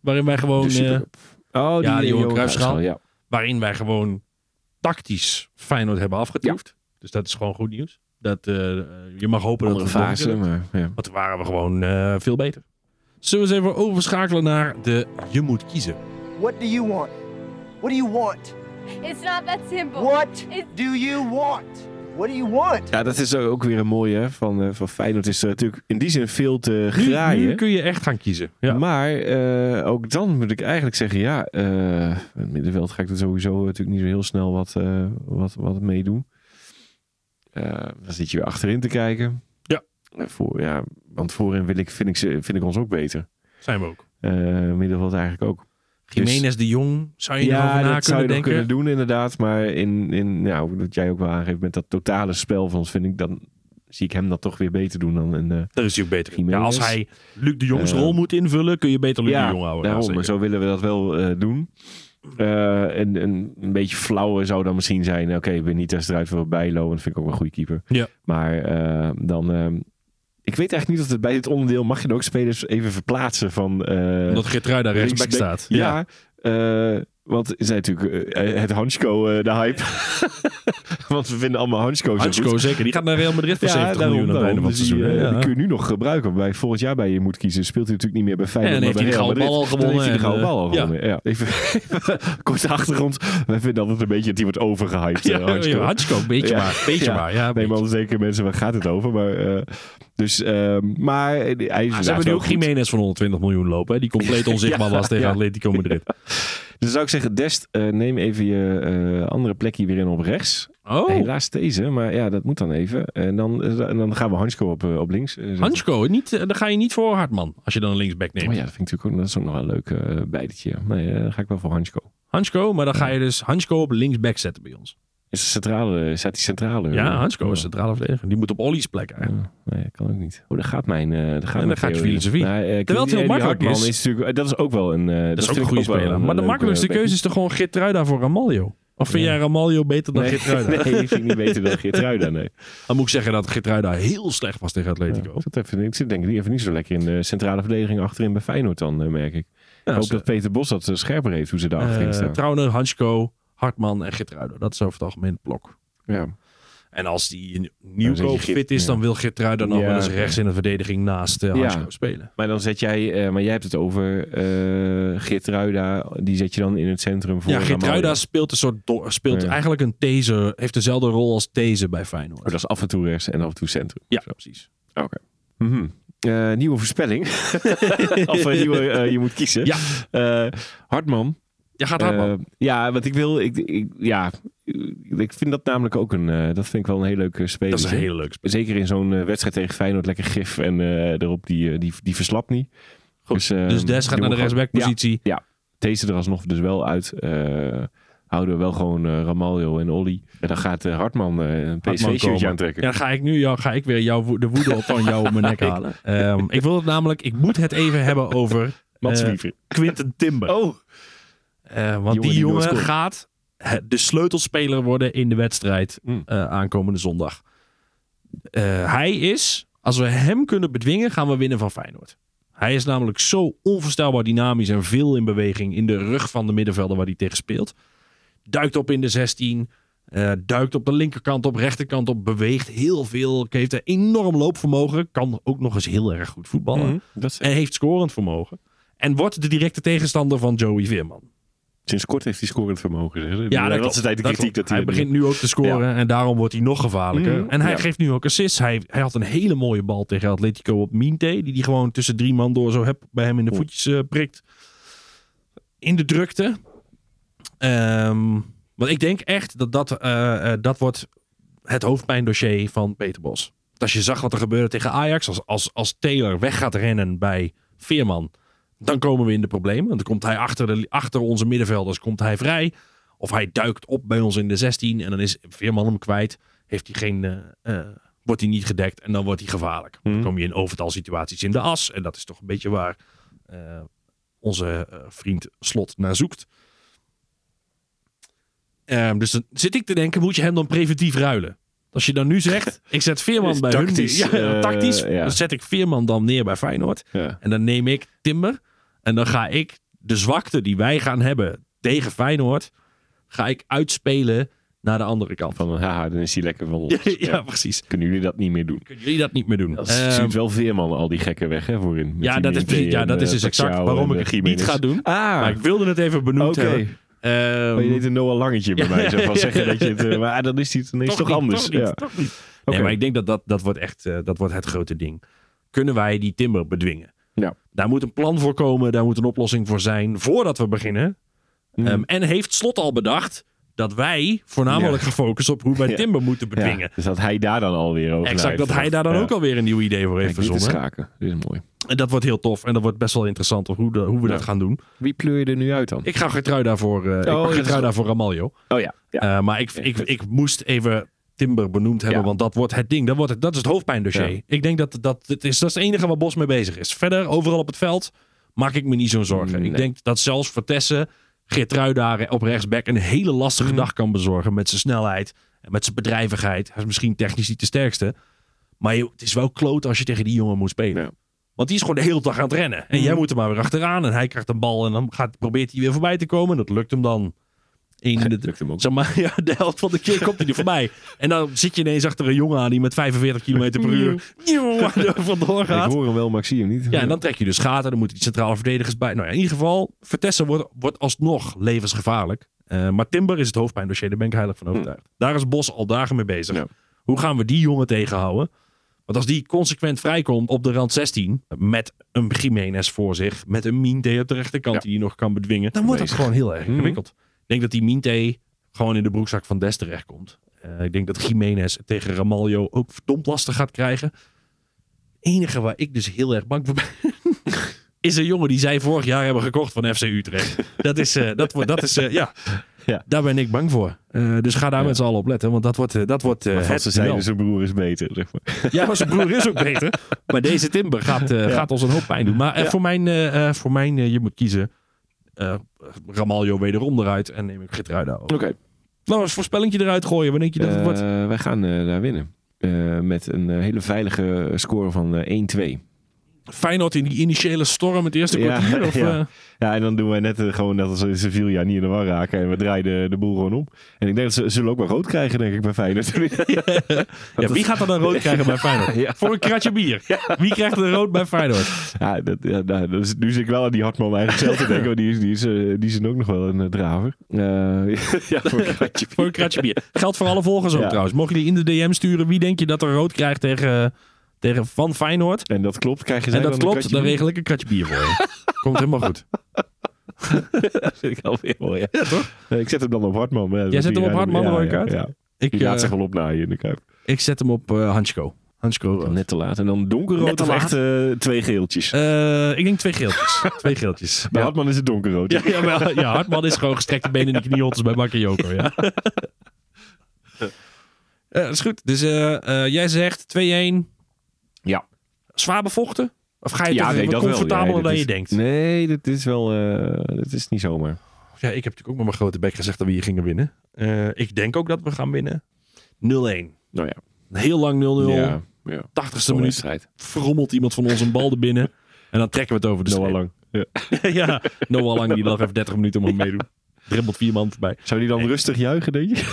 E: Waarin wij gewoon,
F: De Dus Super
E: eh,
F: Cup. Oh, die,
E: ja, die
F: eh,
E: Johan Cruijffschaal.
F: Ja.
E: waarin wij gewoon tactisch Feyenoord hebben afgetoefd. Dus dat is gewoon goed nieuws. Dat, eh, je mag hopen
F: Andere
E: dat het nog een keer
F: fase, maar ja.
E: Want toen waren we gewoon eh, veel beter. Zullen we eens even overschakelen naar de Je moet kiezen.
A: What do you want? What do you want?
B: It's not that simple.
A: What
B: It's
A: do you want? What do you want?
F: Ja, dat is ook weer een mooie hè, van, eh, van Feyenoord. Is er natuurlijk in die zin veel te
E: Nu,
F: graaien.
E: nu kun je echt gaan kiezen. Ja.
F: Maar eh, ook dan moet ik eigenlijk zeggen, ja, eh het middenveld ga ik er sowieso natuurlijk niet zo heel snel wat, eh, wat, wat meedoen. Eh, dan zit je weer achterin te kijken.
E: Ja.
F: Eh, Voor, ja want voorin wil ik, vind, ik, ze- vind ik ons ook beter.
E: Zijn we ook.
F: Eh, middenveld eigenlijk ook. Dus-
E: Jiménez de Jong, zou je
F: ja,
E: erover na
F: dat zou je
E: kunnen
F: nog
E: denken?
F: kunnen doen inderdaad. Maar in, in nou, wat jij ook wel aangeeft met dat totale spel van ons, vind ik dan zie ik hem dat toch weer beter doen dan een eh,
E: Dat is natuurlijk beter. in. Ja,
F: Jiménez.
E: als hij Luc de Jongs
F: Eh,
E: rol moet invullen, kun je beter Luc
F: ja,
E: de Jong houden.
F: Daarom,
E: Ja,
F: maar zo
E: zeker.
F: willen we dat wel eh, doen. Eh, en, en een beetje flauwer zou dan misschien zijn. Oké, Benitez eruit voor Bijlo. En dat vind ik ook wel een goede keeper.
E: Ja.
F: Maar eh, dan... ehm, ik weet eigenlijk niet of het bij dit onderdeel... Mag je dan ook spelers even verplaatsen van... eh,
E: Omdat Geertrui daar rechtsback
F: linksback?
E: staat.
F: Ja. eh, want het is natuurlijk eh, het Hansko, eh, de hype. want we vinden allemaal Hansko zo goed.
E: Hansko zeker. Die gaat naar Real Madrid voor 70 miljoen aan het einde van het
F: dus die,
E: seizoen. hè?
F: eh, die
E: Ja.
F: kun je nu nog gebruiken. Bij volgend jaar bij je moet kiezen. Speelt hij natuurlijk niet meer bij Feyenoord.
E: En dan
F: maar
E: heeft
F: bij
E: hij de
F: Real
E: gouden bal
F: Madrid.
E: al
F: Dan heeft hij de gouden bal al
E: gewonnen eh,
F: gewonnen. Ja. Even korte achtergrond. Wij vinden altijd een beetje dat die wordt overgehyped. eh,
E: Ja,
F: Hansko.
E: ja, Hansko, beetje
F: Ja.
E: maar. Beetje
F: Ja.
E: maar. Ja,
F: Nee,
E: beetje.
F: maar anders denken mensen, waar gaat het over? Maar, eh, dus, ehm, maar eh, hij is
E: Ah, ze hebben nu ook
F: geen
E: Jiménez van 120 miljoen lopen, hè, die compleet onzichtbaar was tegen
F: ja.
E: Atletico Madrid.
F: Dus zou ik zeggen, Dest, eh, neem even je eh, andere plekje weer in op rechts.
E: Oh,
F: Helaas deze, maar ja, dat moet dan even. En dan, eh, en dan gaan we Hansko op, eh, op links. eh, zetten.
E: Hansko, niet, eh, daar ga je niet voor hard, man. Als je dan een linksback neemt.
F: Oh ja, dat vind ik natuurlijk ook, dat is ook nog wel een leuk eh bijtje. Nee, eh, dan ga ik wel voor Hansko.
E: Hansko, maar dan ga je dus Hansko op linksback zetten bij ons.
F: Is de centrale, staat die centrale?
E: Ja,
F: eh,
E: Hansko is
F: eh,
E: centrale verdediger. Die moet op Ollie's plek eigenlijk.
F: Nee, dat kan ook niet. Oh, daar gaat mijn. eh daar gaat
E: dan
F: mijn
E: gaat je
F: theorie.
E: filosofie.
F: Maar, eh,
E: Terwijl het heel
F: die
E: makkelijk
F: Hartman
E: is.
F: natuurlijk, eh, dat is ook wel een. eh,
E: Dat, is
F: vind
E: ook
F: ik
E: een goede
F: wel
E: speler.
F: een
E: Maar de
F: leuke
E: makkelijkste
F: back.
E: keuze is toch gewoon Geertruida voor Ramaljo? Of vind
F: Ja.
E: jij Ramaljo beter dan
F: Nee,
E: Geertruida?
F: nee, die vind ik niet beter dan Geertruida. Nee.
E: Dan moet ik zeggen dat Geertruida heel slecht was tegen
F: Ja,
E: Atletico.
F: ik, zat even, ik zit denk ik even niet zo lekker in de centrale verdediging achterin bij Feyenoord dan, eh, merk ik. ik hoop
E: ze-
F: dat Peter Bos dat eh, scherper heeft, hoe ze daar achterin
E: Eh,
F: staan.
E: Trauner, Hansko, Hartman en Geertruida. Dat is over het algemeen het blok.
F: Ja.
E: En als die
F: Dan zet
E: nieuwkoop
F: je Geert-
E: fit is,
F: ja.
E: dan wil Geertruida nog
F: Ja.
E: wel eens rechts in de verdediging naast eh,
F: Ja.
E: Hansko spelen.
F: Maar dan zet jij, eh, maar jij hebt het over eh Geertruida, die zet je dan in het centrum voor
E: ja, Geertruida
F: Ramalho.
E: speelt, een soort do- speelt
F: Ja.
E: eigenlijk een taser, heeft dezelfde rol als deze bij Feyenoord.
F: Oh, dat is af en toe rechts en af en toe centrum.
E: ja, precies.
F: Oké. Mhm. Eh, nieuwe voorspelling. of een nieuwe, eh, je moet kiezen.
E: Ja.
F: Eh, Hartman.
E: Ja, gaat Hartman.
F: Eh, ja, want ik wil, ik, ik- ja, ik vind dat namelijk ook een, eh, dat vind ik wel een heel leuke speler.
E: dat is een hele leuke speler.
F: Zeker in zo'n eh, wedstrijd tegen Feyenoord, lekker gif en eh, erop, die, eh, die, die verslapt niet.
E: Goed.
F: Dus, eh,
E: Dus Des gaat
F: doen
E: naar de
F: we gewoon-
E: rechtsbackpositie.
F: deze er alsnog dus wel uit. Eh, houden we wel gewoon eh Ramaljo en Olly. En dan gaat eh, Hartman eh, een
E: Hartman
F: PSV-shirtje
E: komen.
F: aantrekken.
E: Ja, dan ga ik nu jou, ga ik weer jouw wo- de woede op van jou op mijn nek halen. Ehm, ik wil het namelijk, ik moet het even hebben over
F: Mats
E: eh,
F: Wiever.
E: Quinten Timber.
F: Oh,
E: Eh,
F: jongen
E: want
F: die
E: die
F: nooit
E: jongen
F: scoort.
E: gaat eh, de sleutelspeler worden in de wedstrijd
F: Mm.
E: eh, aankomende zondag. Eh, hij is, als we hem kunnen bedwingen, gaan we winnen van Feyenoord. Hij is namelijk zo onvoorstelbaar dynamisch en veel in beweging in de rug van de middenvelder waar hij tegen speelt. Duikt op in de 16, eh, duikt op de linkerkant op, rechterkant op, beweegt heel veel. Heeft een enorm loopvermogen, kan ook nog eens heel erg goed voetballen.
F: dat is
E: En heeft scorend vermogen. En wordt de directe tegenstander van Joey Veerman.
F: Sinds kort heeft hij scorend vermogen. Zeg.
E: Ja, dat
F: was
E: klopt.
F: de tijd de
E: Dat
F: kritiek dat
E: klopt.
F: hij,
E: hij begint nu ook te scoren en daarom wordt hij nog gevaarlijker.
F: Mhm,
E: en hij
F: ja.
E: geeft nu ook assists. Hij, hij had een hele mooie bal tegen Atletico op Minte. Die die gewoon tussen drie man door zo heb, bij hem in de
F: Oh.
E: voetjes eh, prikt. In de drukte. Ehm, want ik denk echt dat dat, eh, eh, dat wordt het hoofdpijndossier van Peter Bos. Want Als je zag wat er gebeurde tegen Ajax. Als, als, als Taylor weg gaat rennen bij Veerman. Dan komen we in de problemen. Dan komt hij achter, de, achter onze middenvelders komt hij vrij. Of hij duikt op bij ons in de 16 en dan is Veerman hem kwijt. Heeft hij geen, eh, eh, wordt hij niet gedekt en dan wordt hij gevaarlijk. Dan
F: Mhm.
E: kom je in overtal situaties in de as. En dat is toch een beetje waar eh, onze eh, vriend Slot naar zoekt. Ehm, dus dan zit ik te denken, moet je hem dan preventief ruilen? Als je dan nu zegt, ik zet Veerman
F: Is
E: bij
F: tactisch,
E: hun... neer. Ja,
F: eh,
E: tactisch.
F: ja.
E: Dan zet ik Veerman dan neer bij Feyenoord.
F: Ja.
E: En dan neem ik Timber. En dan ga ik de zwakte die wij gaan hebben tegen Feyenoord. ga ik uitspelen naar de andere kant.
F: Van, haha, dan is hij lekker van ons.
E: ja, precies.
F: Kunnen jullie dat niet meer doen?
E: Kunnen jullie dat niet meer doen?
F: Dat
E: Ehm,
F: ziet wel Veerman al die gekken weg, hè, voorin. Met
E: ja,
F: die
E: dat is,
F: Minte
E: precies- ja,
F: en,
E: dat is
F: eh,
E: dus exact
F: Pacquiao
E: waarom
F: en,
E: ik
F: eh,
E: het niet
F: Gimenez.
E: ga doen.
F: Ah,
E: Maar ik wilde het even benoemd
F: Oké.
E: hebben. Ehm,
F: Maar je deed een Noah Langetje bij
E: Ja.
F: mij. Zo van
E: Ja.
F: zeggen dat je het... eh, Maar dan is hij het ineens toch,
E: niet,
F: anders.
E: toch niet,
F: ja.
E: toch niet.
F: Oké.
E: Nee, maar ik denk dat dat, dat wordt echt eh, dat wordt het grote ding. Kunnen wij die timber bedwingen?
F: Ja.
E: Daar moet een plan voor komen. Daar moet een oplossing voor zijn. Voordat we beginnen.
F: Mm.
E: Ehm, en heeft Slot al bedacht dat wij voornamelijk
F: Ja.
E: gaan focussen op hoe wij
F: Ja.
E: timber moeten
F: Ja,
E: bedwingen.
F: Dus dat hij daar dan alweer over
E: Exact, dat hij daar dan ook alweer een nieuw idee voor heeft
F: even Dit is
E: verzonnen.
F: schaken. Dit is mooi.
E: En dat wordt heel tof. En dat wordt best wel interessant hoe, de- hoe we
F: Ja.
E: dat gaan doen.
F: Wie pleur je er nu uit dan?
E: Ik ga Gertruida daarvoor. eh
F: ja,
E: ik
F: dat
E: mag
F: is
E: Gertruida
F: goed.
E: voor Ramaljo.
F: Oh ja. ja.
E: Eh, maar ik, ik,
F: goed.
E: ik moest even Timber benoemd hebben,
F: Ja.
E: want dat wordt het ding. Dat, wordt het, dat is het hoofdpijndossier.
F: Ja.
E: Ik denk dat dat, dat, is, dat is het enige waar Bos mee bezig is. Verder, overal op het veld, maak ik me niet zo'n zorgen.
F: Nee.
E: Ik denk dat zelfs Vertessen Geertrui daar op rechtsback een hele lastige
F: Mhm.
E: dag kan bezorgen. Met zijn snelheid en met zijn bedrijvigheid. Hij is misschien technisch niet de sterkste. Maar joh, het is wel kloot als je tegen die jongen moet spelen.
F: Ja. Mhm.
E: Want die is gewoon de hele dag aan het rennen. En jij moet er maar weer achteraan. En hij krijgt een bal en dan gaat, probeert hij weer voorbij te komen. En dat lukt hem dan. Eén in de,
F: Lukt hem ook.
E: Zeg maar, ja, de helft van de keer komt hij er voorbij. En dan zit je ineens achter een jongen aan die met 45 km per uur nieuw, er vandoor
F: Ik
E: gaat.
F: hoor hem wel, maar ik zie hem niet.
E: Ja, en dan trek je dus gaten. Dan moeten die centrale verdedigers bij. Nou ja, in ieder geval, Vertessen wordt, wordt alsnog levensgevaarlijk. Eh, maar Timber is het hoofdpijndossier. Daar ben ik heilig van overtuigd. Daar is Bos al dagen mee bezig.
F: Hm. Ja.
E: Hoe gaan we die jongen tegenhouden? Want als die consequent vrijkomt op de rand 16... met een Jiménez voor zich... met een Minte op de rechterkant
F: Ja. Hm.
E: die je nog kan bedwingen... dan wordt het
F: Bezig.
E: gewoon heel erg ingewikkeld. Ik denk dat die Minte gewoon in de broekzak van Des terechtkomt. Eh ik denk dat Jiménez tegen Ramaljo ook verdomd lastig gaat krijgen. enige waar ik dus heel erg bang voor ben... is een jongen die zij vorig jaar hebben gekocht van FC Utrecht. dat is, eh, dat, wordt- dat is eh, ja...
F: Ja.
E: Daar ben ik bang voor. Eh, dus ga daar
F: Ja.
E: met z'n allen op letten. Want dat wordt, eh, dat wordt eh,
F: Maar
E: het
F: vast ze zeiden,
E: duel.
F: zijn broer is beter. Zeg maar.
E: Ja, maar zijn broer is ook beter. Maar deze Timber gaat, eh, gaat ons een hoop pijn doen. Maar eh, voor mijn, eh, eh, voor mijn eh, je moet kiezen. eh Ramaljo wederom eruit en neem ik Gertruida over.
F: Oké.
E: Nou, eens voorspellingje eruit gooien. Wanneer denk je dat het wordt?
F: Eh, wij gaan eh, daar winnen. Eh, met een eh, hele veilige score van eh, 1-2.
E: Feyenoord in die initiële storm het eerste
F: Ja,
E: kwartier? Of,
F: ja.
E: eh,
F: Ja, en dan doen wij net eh, gewoon net als in Sevilla niet in de war raken. En we draaien de, de boel gewoon om. En ik denk dat ze zullen ook wel rood krijgen, denk ik, bij Feyenoord.
E: ja, wie gaat er dan rood krijgen bij Feyenoord?
F: Ja.
E: Voor een kratje bier. Wie krijgt er rood bij Feyenoord?
F: ja, dat, ja, nou, dus nu zit ik wel aan die Hartman eigenlijk zelf te denken. Want die is, die is, eh, die is dan ook nog wel een eh, draver. Eh, ja, voor een kratje bier.
E: Voor een kratje bier. Geldt voor alle volgers ook
F: Ja.
E: trouwens. Mocht je die in de DM sturen, wie denk je dat er rood krijgt tegen, tegen van Feyenoord?
F: En dat klopt, krijgen ze
E: En dat
F: dan
E: klopt,
F: een
E: dan
F: kratje
E: regel ik een kratje bier voor je. Komt helemaal goed.
F: bier? Dat vind ik alweer mooi. Oh, Ja, toch? ik zet hem dan op Hartman. maar ja,
E: Jij zet hem op Hartman,
F: ja,
E: rode
F: ja,
E: kaart?
F: ja.
E: Ik,
F: Die laat
E: eh,
F: zich wel opnaaien in de kuip.
E: ik zet hem op eh Hansko. Hansko rood.
F: Net te laat. En dan
E: Net
F: donkerrood
E: te
F: of
E: laat.
F: echt eh, twee geeltjes.
E: Eh, ik denk twee geeltjes. twee geeltjes.
F: bij
E: Ja.
F: Hartman is het donkerrood.
E: Ja, jawel. ja, Hartman is gewoon gestrekte benen in de knieholtes bij Bakayoko. Ja. Eh, dat is goed. Dus eh, eh, jij zegt 2-1.
F: Ja.
E: Zwaar bevochten? Of ga je
F: Ja,
E: toch
F: nee,
E: wat
F: dat wel.
E: comfortabeler
F: Ja,
E: dan
F: dit
E: je
F: is-
E: denkt?
F: Nee, dat is wel... eh, dat is niet zomaar.
E: Ja, ik heb natuurlijk ook met mijn grote bek gezegd dat we hier gingen winnen. Eh, ik denk ook dat we gaan winnen. 0-1.
F: Nou ja.
E: Heel lang 0-0.
F: Ja, ja.
E: 80ste minuut. frommelt iemand van ons een bal er binnen. En dan trekken we het over de
F: Noah
E: streep.
F: Lang. Ja.
E: ja, Noah Lang die nog even 30 minuten om hem meedoen. Dribbelt vier man voorbij.
F: Zou die dan rustig juichen, denk je?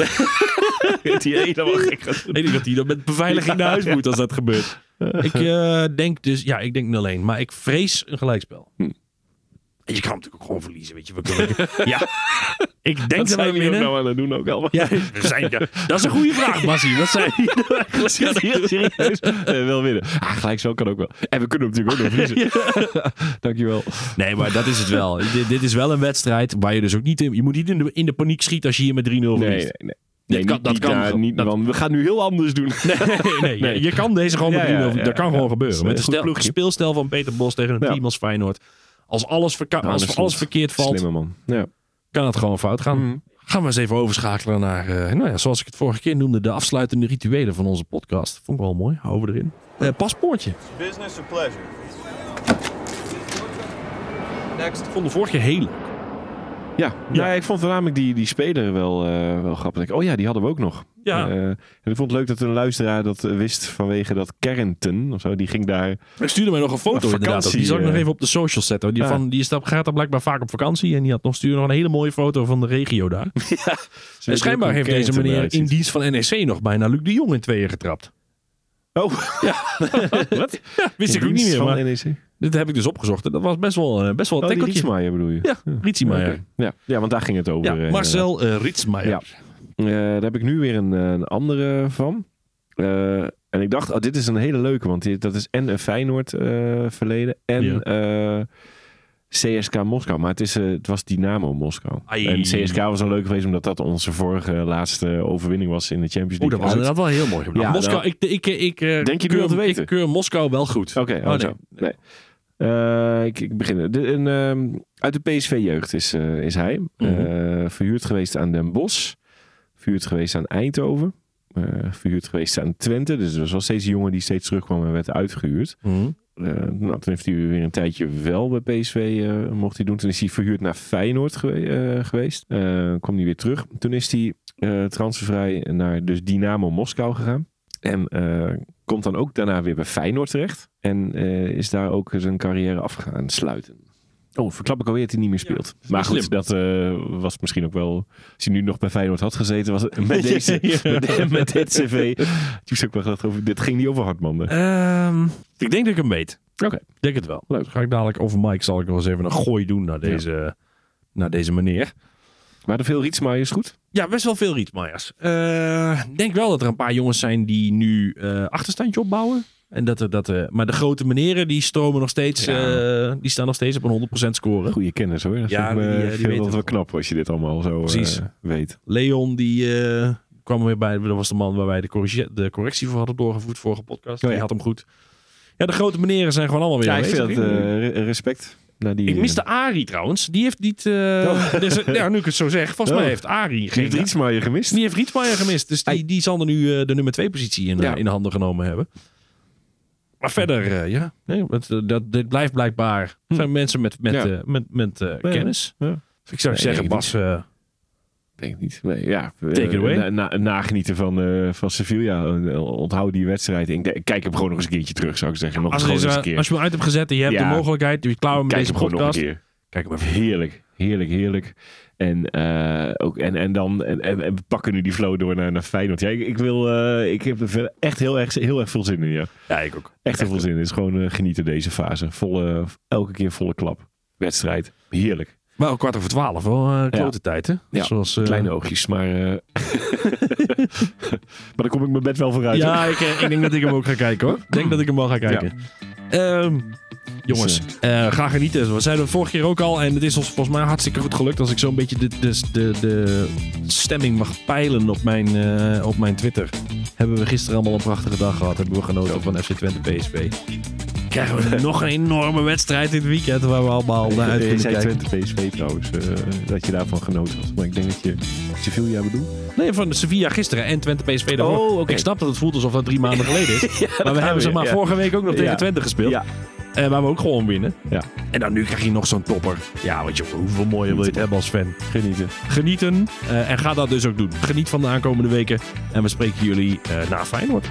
F: die helemaal gek gaat
E: Ik denk dat hij dan met beveiliging naar huis moet als dat gebeurt. Ik eh, denk dus, ja, ik denk 0-1. Maar ik vrees een gelijkspel. Hm. En je kan natuurlijk ook gewoon verliezen, weet je. We kunnen, ja, ik denk
F: Dat
E: dat wij
F: zijn we
E: winnen.
F: nou aan het doen ook al.
E: Ja, we zijn de- dat is een goede vraag, Massie. Wat zijn die nou eigenlijk?
F: Ja, heel serieus. Eh, wel winnen. Ah, gelijk zo kan ook wel. En we kunnen hem natuurlijk ook nog verliezen. Dankjewel.
E: Nee, maar dat is het wel. Dit, dit is wel een wedstrijd waar je dus ook niet in... Je moet niet in de, in de paniek schieten als je hier met 3-0 verliest.
F: Nee, nee, nee. Nee,
E: kan-
F: niet,
E: dat
F: niet
E: kan
F: daar,
E: gewoon.
F: niet,
E: Dat-
F: want we gaan nu heel anders doen.
E: nee, nee,
F: Nee.
E: Je, je kan deze gewoon
F: Ja,
E: met 3-0.
F: ja,
E: verliezen. dat
F: ja,
E: kan
F: ja.
E: gewoon
F: Dat is
E: gebeuren.
F: een
E: Met een
F: goed
E: stel,
F: ploegje.
E: speelstel van Peter Bos tegen een
F: Ja.
E: team als Feyenoord. Als alles, verka-
F: Nou, dat
E: als
F: is
E: alles
F: goed.
E: verkeerd valt,
F: Slimme Mhm. man. Ja.
E: kan het gewoon fout gaan. Gaan we eens even overschakelen naar, eh, nou ja, zoals ik het vorige keer noemde, de afsluitende rituelen van onze podcast. Vond ik wel mooi. Houden we erin. Eh, paspoortje.
G: Business or pleasure?
E: Ik vond de vorige keer heel leuk.
F: Ja, Nou, ik vond voornamelijk die, die speler wel, eh, wel grappig. Ik- Oh ja, die hadden we ook nog.
E: Ja.
F: Eh, en ik vond het leuk dat een luisteraar dat eh, wist vanwege dat Carrington of zo. Die ging daar.
E: Ik stuurde mij nog een foto
F: Een
E: inderdaad.
F: vakantie,
E: Die zal ik nog
F: eh.
E: even op de socials zetten. hoor. Die,
F: Ja.
E: van, die is, daar- gaat daar blijkbaar vaak op vakantie. En die had nog, stuurde nog een hele mooie foto van de regio daar. En schijnbaar heeft deze meneer in dienst van NEC nog bijna Luc de Jong in tweeën getrapt.
F: Oh,
E: Wat? Ja, wist ik ook niet meer. Maar
F: NEC.
E: dit heb ik dus opgezocht. En dat was best wel, eh, best wel een
F: E Oh, die
E: tekkeltje.
F: Rietsmaier bedoel je?
E: Ja, Rietsiemaier.
F: Oké. Ja. ja, want daar ging het over.
E: Ja,
F: eh,
E: Marcel eh Rietsmaier.
F: Ja. Eh, daar heb ik nu weer een, eh, een andere van. Eh, en ik dacht, oh, dit is een hele leuke, want die- dat is en een Feyenoord eh, verleden en
E: Ja.
F: eh, CSK Moskou. Maar het, is, eh, het was Dynamo Moskou.
E: Ai.
F: En CSK was een leuke geweest, omdat dat onze vorige laatste overwinning was in de Champions League. Dus
E: Oeh, dat was
F: Uit.
E: inderdaad wel heel mooi.
F: Ja,
E: Moskou,
F: nou.
E: ik, ik, ik, eh,
F: Denk je nu
E: keur,
F: al te weten?
E: Ik keur Moskou wel goed.
F: Oké, oh,
E: Oh, nee.
F: zo. Nee. Eh, ik, ik begin. De, een, ehm, uit de PSV-jeugd is, eh, is hij. Eh, verhuurd geweest aan Den Bosch. Verhuurd geweest aan Eindhoven. eh, verhuurd geweest aan Twente. Dus er was wel steeds een jongen die steeds terugkwam en werd uitgehuurd.
E: Mhm.
F: Eh, nou, toen heeft hij weer een tijdje wel bij PSV eh, mocht hij doen. Toen is hij verhuurd naar Feyenoord gewe- eh, geweest. Eh kwam hij weer terug. Toen is hij eh, transfervrij naar dus Dynamo Moskou gegaan. En eh, komt dan ook daarna weer bij Feyenoord terecht. En eh, is daar ook zijn carrière af gaan sluiten. Oh, verklap ik alweer dat hij niet meer speelt. maar goed,
E: slim.
F: dat eh, was misschien ook wel... Als hij nu nog bij Feyenoord had gezeten, was het met, deze, met, de- met dit cv... Toen is ook wel gedacht over... Dit ging niet over Hartman. hè?
E: Ehm, ik denk dat ik hem weet.
F: Oké.
E: Ik denk het wel.
F: Leuk.
E: Ga ik dadelijk over Mike zal ik nog eens even een gooi doen naar deze, naar deze meneer.
F: Maar de veel Rietsmaaier is goed.
E: Ja, best wel veel rietmaaiers. Eh, Ik denk wel dat er een paar jongens zijn die nu eh, achterstandje opbouwen. En dat er, dat, eh, maar de grote meneren die stromen nog steeds, eh, die staan nog steeds op een 100% scoren.
F: Goede kennis hoor. Dat
E: Ja,
F: vind ik me-
E: die, eh, die
F: vind ik
E: weten
F: altijd wel
E: het.
F: knap als je dit allemaal zo eh,
E: Precies.
F: weet.
E: Leon die eh, kwam weer bij, dat was de man waar wij de, corrige- de correctie voor hadden doorgevoerd vorige podcast.
F: Oh ja.
E: Die had hem goed. Ja, de grote meneren zijn gewoon allemaal weer
F: Ja, ik
E: aanwezig.
F: vind dat eh, re- respect naar die... eh,
E: Ik mis de Ari trouwens. Die heeft niet. eh, er is- ja, nu ik het zo zeg. Volgens mij
F: Oh.
E: heeft Ari
F: Geen
E: geen. Die
F: Rietsmaaier gemist.
E: heeft Rietsmaier gemist. Dus die, die zal er nu eh, de nummer 2 positie in, eh,
F: Ja.
E: in handen genomen hebben. Maar verder, eh, ja. Nee, want, eh, dat, dit blijft blijkbaar. zijn mensen met, met,
F: Hm. Ja.
E: eh, met, met eh,
F: Ja.
E: kennis. Dus
F: Ja.
E: Ik zou
F: Nee,
E: zeggen,
F: ik
E: Bas. eh,
F: Denk ik niet. Nee, ja. eh,
E: Take it away.
F: Na, na- nagenieten van, eh, van Sevilla. Eh, Onthoud die wedstrijd. Ik denk- kijk hem gewoon nog eens een keertje terug, zou ik zeggen. Nog
E: als,
F: eens
E: er
F: gewoon
E: is,
F: eens
E: eh,
F: een keer.
E: als je hem uit hebt gezet en je hebt
F: Ja.
E: de mogelijkheid. Je klauwen met
F: kijk
E: deze
F: hem gewoon nog een
E: podcast.
F: keer.
E: Kijk hem even.
F: Heerlijk, heerlijk, heerlijk. En, eh, ook, en, en dan en, en, en we pakken nu die flow door naar, naar Feyenoord. Ja, ik, ik, wil, eh, ik heb er verder echt heel erg, heel erg veel zin in. Ja.
E: Ja, ik ook.
F: Echt heel veel zin in. Het is gewoon eh, genieten deze fase. Volle, elke keer volle klap. Wedstrijd. Heerlijk.
E: Wel kwart over twaalf. Wel eh, klote tijd, hè?
F: Ja.
E: Zoals, eh,
F: Kleine oogjes, maar... eh, maar dan kom ik mijn bed wel vooruit.
E: Ja, ik, eh, ik denk dat ik hem ook ga kijken hoor. Ik denk dat ik hem wel ga kijken. Ehm, jongens, eh, ga genieten. We zeiden het vorige keer ook al. En het is ons volgens mij hartstikke goed gelukt. Als ik zo'n beetje de, de, de, de stemming mag peilen op mijn, eh, op mijn Twitter. Hebben we gisteren allemaal een prachtige dag gehad. Hebben we genoten van FC Twente PSV. Krijgen we nog een enorme wedstrijd dit weekend. Waar we allemaal naar uit
F: Je
E: kunnen
F: Eh, zei
E: kijken.
F: Twente PSV trouwens, eh, dat je daarvan genoten had. Maar ik denk dat je Sevilla bedoelt.
E: Nee, van Sevilla gisteren en Twente PSV daarvoor.
F: Oh, oké.
E: Ik snap dat het voelt alsof dat drie maanden geleden is. maar we hebben ze
F: weer,
E: maar
F: ja.
E: vorige week ook nog tegen
F: Ja.
E: Twente gespeeld.
F: Ja.
E: Eh, waar we ook gewoon winnen.
F: Ja.
E: En dan nu krijg je nog zo'n topper. Ja, weet je, hoeveel mooier wil je het hebben als fan.
F: Genieten.
E: Genieten eh, en ga dat dus ook doen. Geniet van de aankomende weken. En we spreken jullie eh, na Feyenoord.